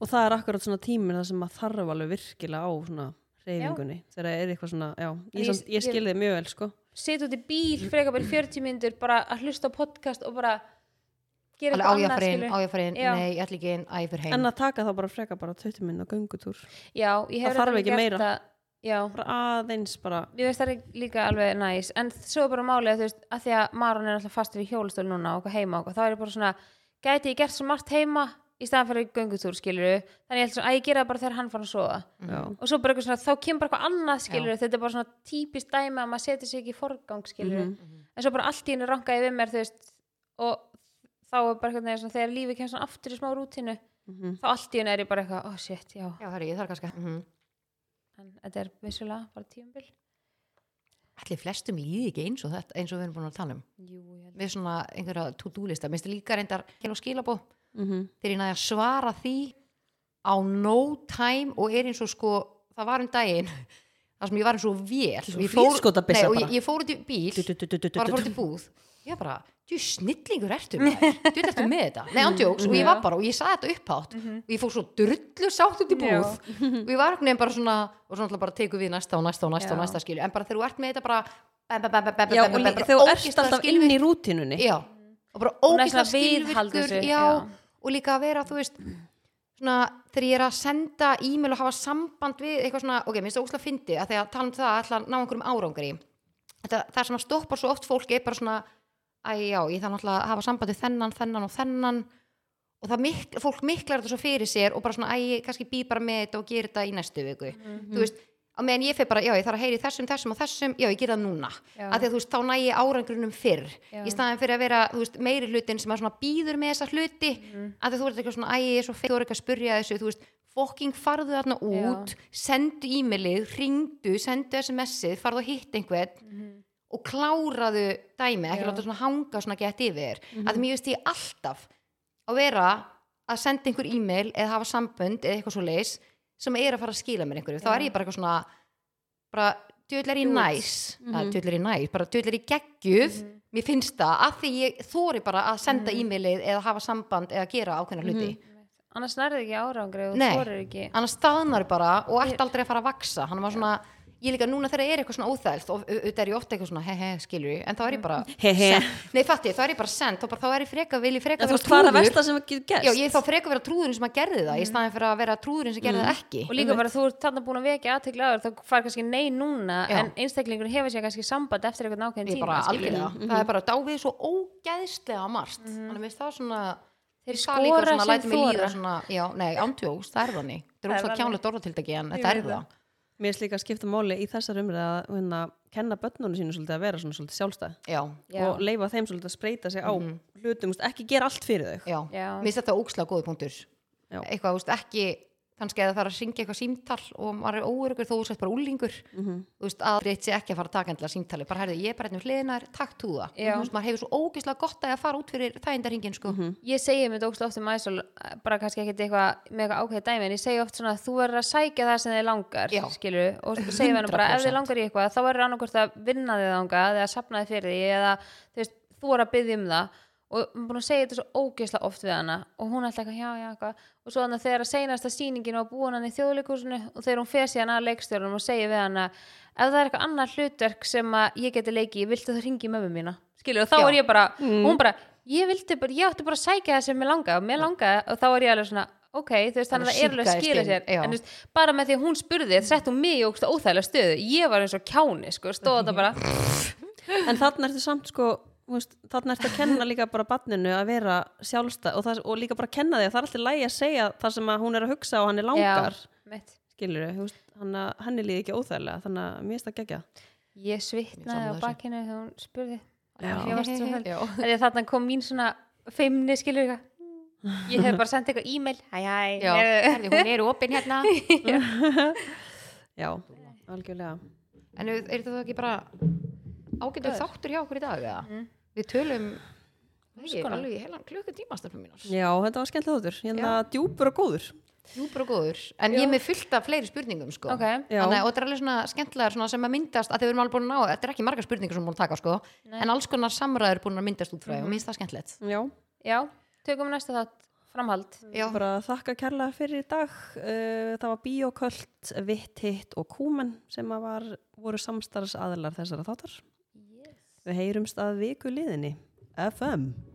B: og það er akkurat svona tíminn það sem maður þarf alveg virkilega á svona reyfingunni þegar það er eitthvað svona, já,
C: En
B: ég,
C: ég-
B: samt, ég skil þið mjög vel sko
C: sit út í bíl frekar bara í 40 myndur bara að hlusta á podcast og bara gera
A: alveg á ég að fara inn,
C: skilur.
A: á ég að fara inn
C: Já.
A: Nei, ég ætla ekki inn, að ég fyrir heim
B: en að taka þá bara freka bara 20 minn á göngutúr
C: já, ég hef
B: Það þarf
C: reyndar
B: ekki
C: gert
B: meira.
C: það. já,
B: bara aðeins bara
C: ég veist það er líka alveg næs en svo er bara málið að þú veist að því að Maron er alltaf fastur í hjólastól núna og eitthvað heima og eitthvað, þá er ég bara svona, gæti ég gert svo margt heima í staðan fyrir göngutúr skilur þannig ég held svona að ég gera það bara þegar hann fara að sofa
A: Mhm.
B: já,
C: og svo bara eitthvað svona, þá kemur bara eitthvað annað skilur þetta er bara svona típist dæmi að maður setja sig ekki í forgang skilur
A: Mhm.
C: en svo bara allt í henni rangaði við mér þú veist og þá er bara eitthvað svona, þegar lífið kemst svona aftur í smá rútinu
B: mhm,
C: þá allt í henni er ég bara eitthvað, oh shit, já
A: Já, herri, ég þarf kannski mm -hmm.
C: en þetta er vissulega bara tíumbil
A: Ætli flestum líði ekki eins og þetta eins og við erum búin að tala um
C: jú, ég held
A: Við svona einhverja to-do lista Mér finnst líka reyndar hér á skilabó
B: mhm,
A: Þegar ég næði að svara því á no time og er eins og sko það var um daginn það sem ég var eins og vél
B: Svo
A: Ég fór-
B: flískotabissa
A: Nei, og
B: bara.
A: ég, ég fór út í bíl bara fór út í búð ég bara, þú snillingur ertu maður þú ert eftir með þetta,
B: Mm-hmm.
A: nei andjóks og ég var bara og ég saði þetta upphátt og ég fór svo drullu sátt út í búð og ég var nefn bara svona og svona bara teku við næsta og næsta og næsta og
C: Já.
A: næsta skilju en bara þegar þú ert með þetta bara bæm, bæm, bæm, bæm, bæm,
B: já,
A: bæm,
B: og
A: bæm,
B: líka
A: bara
B: þegar þú ert
A: ógeðslega
B: alltaf
A: skilvirk-
B: inn í rútinunni
A: já, og bara
C: er
A: ógeðslega
C: svona viðhald
A: skilvirkur
C: þessu,
A: já,
C: já.
A: og líka að vera, þú veist svona, þegar ég er að senda e-mail og hafa samband við eitthvað svona ok, mér finnst það ógeðslega fyndi að þegar tala um það að ætla að ná einhverjum árangri þetta, það sem að stoppa svo oft fólki er bara svona æ, já, ég þarf náttúrulega að hafa samband við þennan, þennan og þennan og það mikl, fólk miklar þetta svo fyrir sér og bara svona, æ, ég kannski býð bara með þetta og gerir þetta í næstu viku, þú veist á meðan ég fer bara, já, ég þarf að heyri þessum, þessum og þessum já, ég ger það núna,
C: Já.
A: af því að þú veist, þá næ ég árangrunum fyrr,
C: Já.
A: í staðan fyrir að vera þú veist, meiri hlutin sem að svona býður með þessa hluti af því að þú ert eitthvað svona, æ, ég er svo feitt þú ert eitthvað að spurja þessu, þú veist fokking farðu þarna út sendu e-mailið, ringdu sendu SMS-ið, farðu að hitta einhvern
C: Mhm.
A: og kláraðu dæmi ekki
C: Já. Mhm.
A: láta svona hanga svona gett yfir að mér veist ég alltaf að vera að senda einhver e-mail eða hafa sambönd eða eitthvað svo leis sem er að fara að skila mér einhverju þá
C: Já.
A: er ég bara eitthvað svona bara djöðlar í
C: Dudes.
A: næs mm
B: Mhm.
A: djöðlar í næs, bara djöðlar í geggjuð mér finnst það að því ég þóri bara að senda
C: Mhm.
A: e-mailið eða hafa samband eða gera ákveðna hluti
C: annars nærði ekki árangri og
A: Nei.
C: þorir ekki
A: annars staðnar bara og ert aldrei að fara að vaksa hann var svona, ég líka núna þegar er eitthvað svona óþælt og auðvitað er ég ofta eitthvað svona he he skilur ég, en þá
C: Mhm.
A: er ég bara
B: He, he.
A: send- nei fatti, þá er ég bara send, þá, bara, þá er ég freka vil ég freka
B: En þú
A: vera
B: veist hvað er að
A: trúður
B: versta sem að geta gæst
A: já, ég er þá freka vera trúðurinn sem að gerði það í staðin fyrir að vera trúðurinn sem gerði það ekki
C: Mm. og líka bara þú ert þarna búin að vekja aðtekla aður þá fær kannski nei núna
A: Já.
C: en einstaklingur hefur sér kannski samband eftir eitthvað nákvæm
A: ég
C: tíma
A: bara
C: skilurðu. Mm-hmm.
A: algjörlega, það er bara dávið svo ógeðslega margt mm -hmm. þannig að mér finnst það svona
C: Þeir
A: það líka
C: skora
A: svona,
C: sem
A: lætur mig líða
C: þora.
A: svona, já, nei, ántjóks, það er þannig það er
C: Það er
A: óslega
C: þannig.
A: kjánlegt orðatiltæki en
C: Ég
A: þetta er
C: veit það.
A: það
B: Mér er slíka að skipta máli í þessar umræða að hérna, kenna börnunum sínum svolítið að vera svona svolítið sjálfstæð
A: já, Mhm.
C: Já.
B: og leifa þeim svolítið að spreita sig á hlutum, þú veist, ekki gera allt fyrir þau
A: já,
C: Já.
A: mér finnst þetta ókslega góði punktur
B: Já.
A: eitthvað, þú veist, ekki kannski að það er að syngja eitthvað símtal og maður er óörugur þó þú sett bara úlingur þú veist, að breytt sér ekki að fara að taka endilega símtali bara herðu, ég er bara hérna um hliðinar, takk tú það
C: Já.
A: þú veist, maður hefur svo ógeðslega gott að fara út fyrir þægindarhingin, sko
C: ég segi mér dókslega oft um æsól bara kannski ekkert eitthvað með eitthvað ákveðið dæmi en ég segi oft svona að þú verður að sækja það sem þið langar
A: Já.
C: skilur, og segi henni bara ef
A: 100%.
C: þið langar í eitthvað þá verður annarkvort að vinna þið þangað eða sapna þið fyrir því eða þú veist, þú er að byggja um það og hún er búin að segja þetta svo ógeðslega oft við hana og hún er alltaf eitthvað, já, já, eitthvað og svo þannig að þegar að seinasta sýningin var búin hann í þjóðleikúsinu og þegar hún fer síðan að leikstjórnum og segja við hana ef það er eitthvað annað hlutverk sem að ég geti leiki, viltu það ringi mömmu mína skilur, og þá
A: Já.
C: er ég bara, hún bara ég vildi bara, ég átti bara að sækja það sem mér langaði og mér langaði og þá er ég alveg svona ok, þú veist, þannig
A: Þannig
C: að það er alveg að
A: sinkaðist
C: skila
A: inn,
C: sér
A: já.
C: en, þú veist, bara með því að hún spurði, sett hún mig í ógsta óþægilega stöðu, ég var eins og kjáni sko, stóða þetta bara,
B: En þarna ertu samt sko þú veist, þarna ertu að kenna líka bara barninu að vera sjálfstæð og, það, og líka bara kenna því að það er alltaf lægi að segja það sem að hún er að hugsa og hann er langar
C: já, mitt
B: skilur þau, henni líði ekki óþægilega þannig að mér finnst það gegja
C: ég svitnaði á
A: Ég sammála
C: bakinu þegar hún spurði
B: Já.
C: ég varst svo höll
A: Já.
C: þannig að þarna kom mín svona feimni skilur eitthvað ég hef bara sendt eitthvað e-mail hæ hæ
A: já,
C: eh,
A: herðu, hún er opinn hérna
B: Já, algjörlega
A: en er er þetta þá ekki bara ágættur þáttur hjá okkur í dag, eða? við tölum Nei,
C: Mm. konar.
A: alveg í heilan klukkutíma stelpur mínar.
B: Já, þetta var skemmtilega þóttur, hérna djúpur og góður
A: Djúpur og góður. En ég er með fullt af fleiri spurningum sko.
C: Ok.
B: Já.
A: Þannig að og þetta er alveg svona skemmtilegar svona sem að myndast að þið erum alveg búin að ná, þetta er ekki margar spurningar sem við erum búin að taka sko, en alls konar samræður búin að myndast út frá mm. og minnst það skemmtilegt.
B: Já,
C: já, tökum næsta þátt framhald
A: Já,
B: bara þakka kærlega fyrir í dag uh, það var Bíoköld, Vitt, Hitt og Kúmen sem að var, voru samstarfs aðlar þessara þáttar Við heyrumst að viku liðinni FM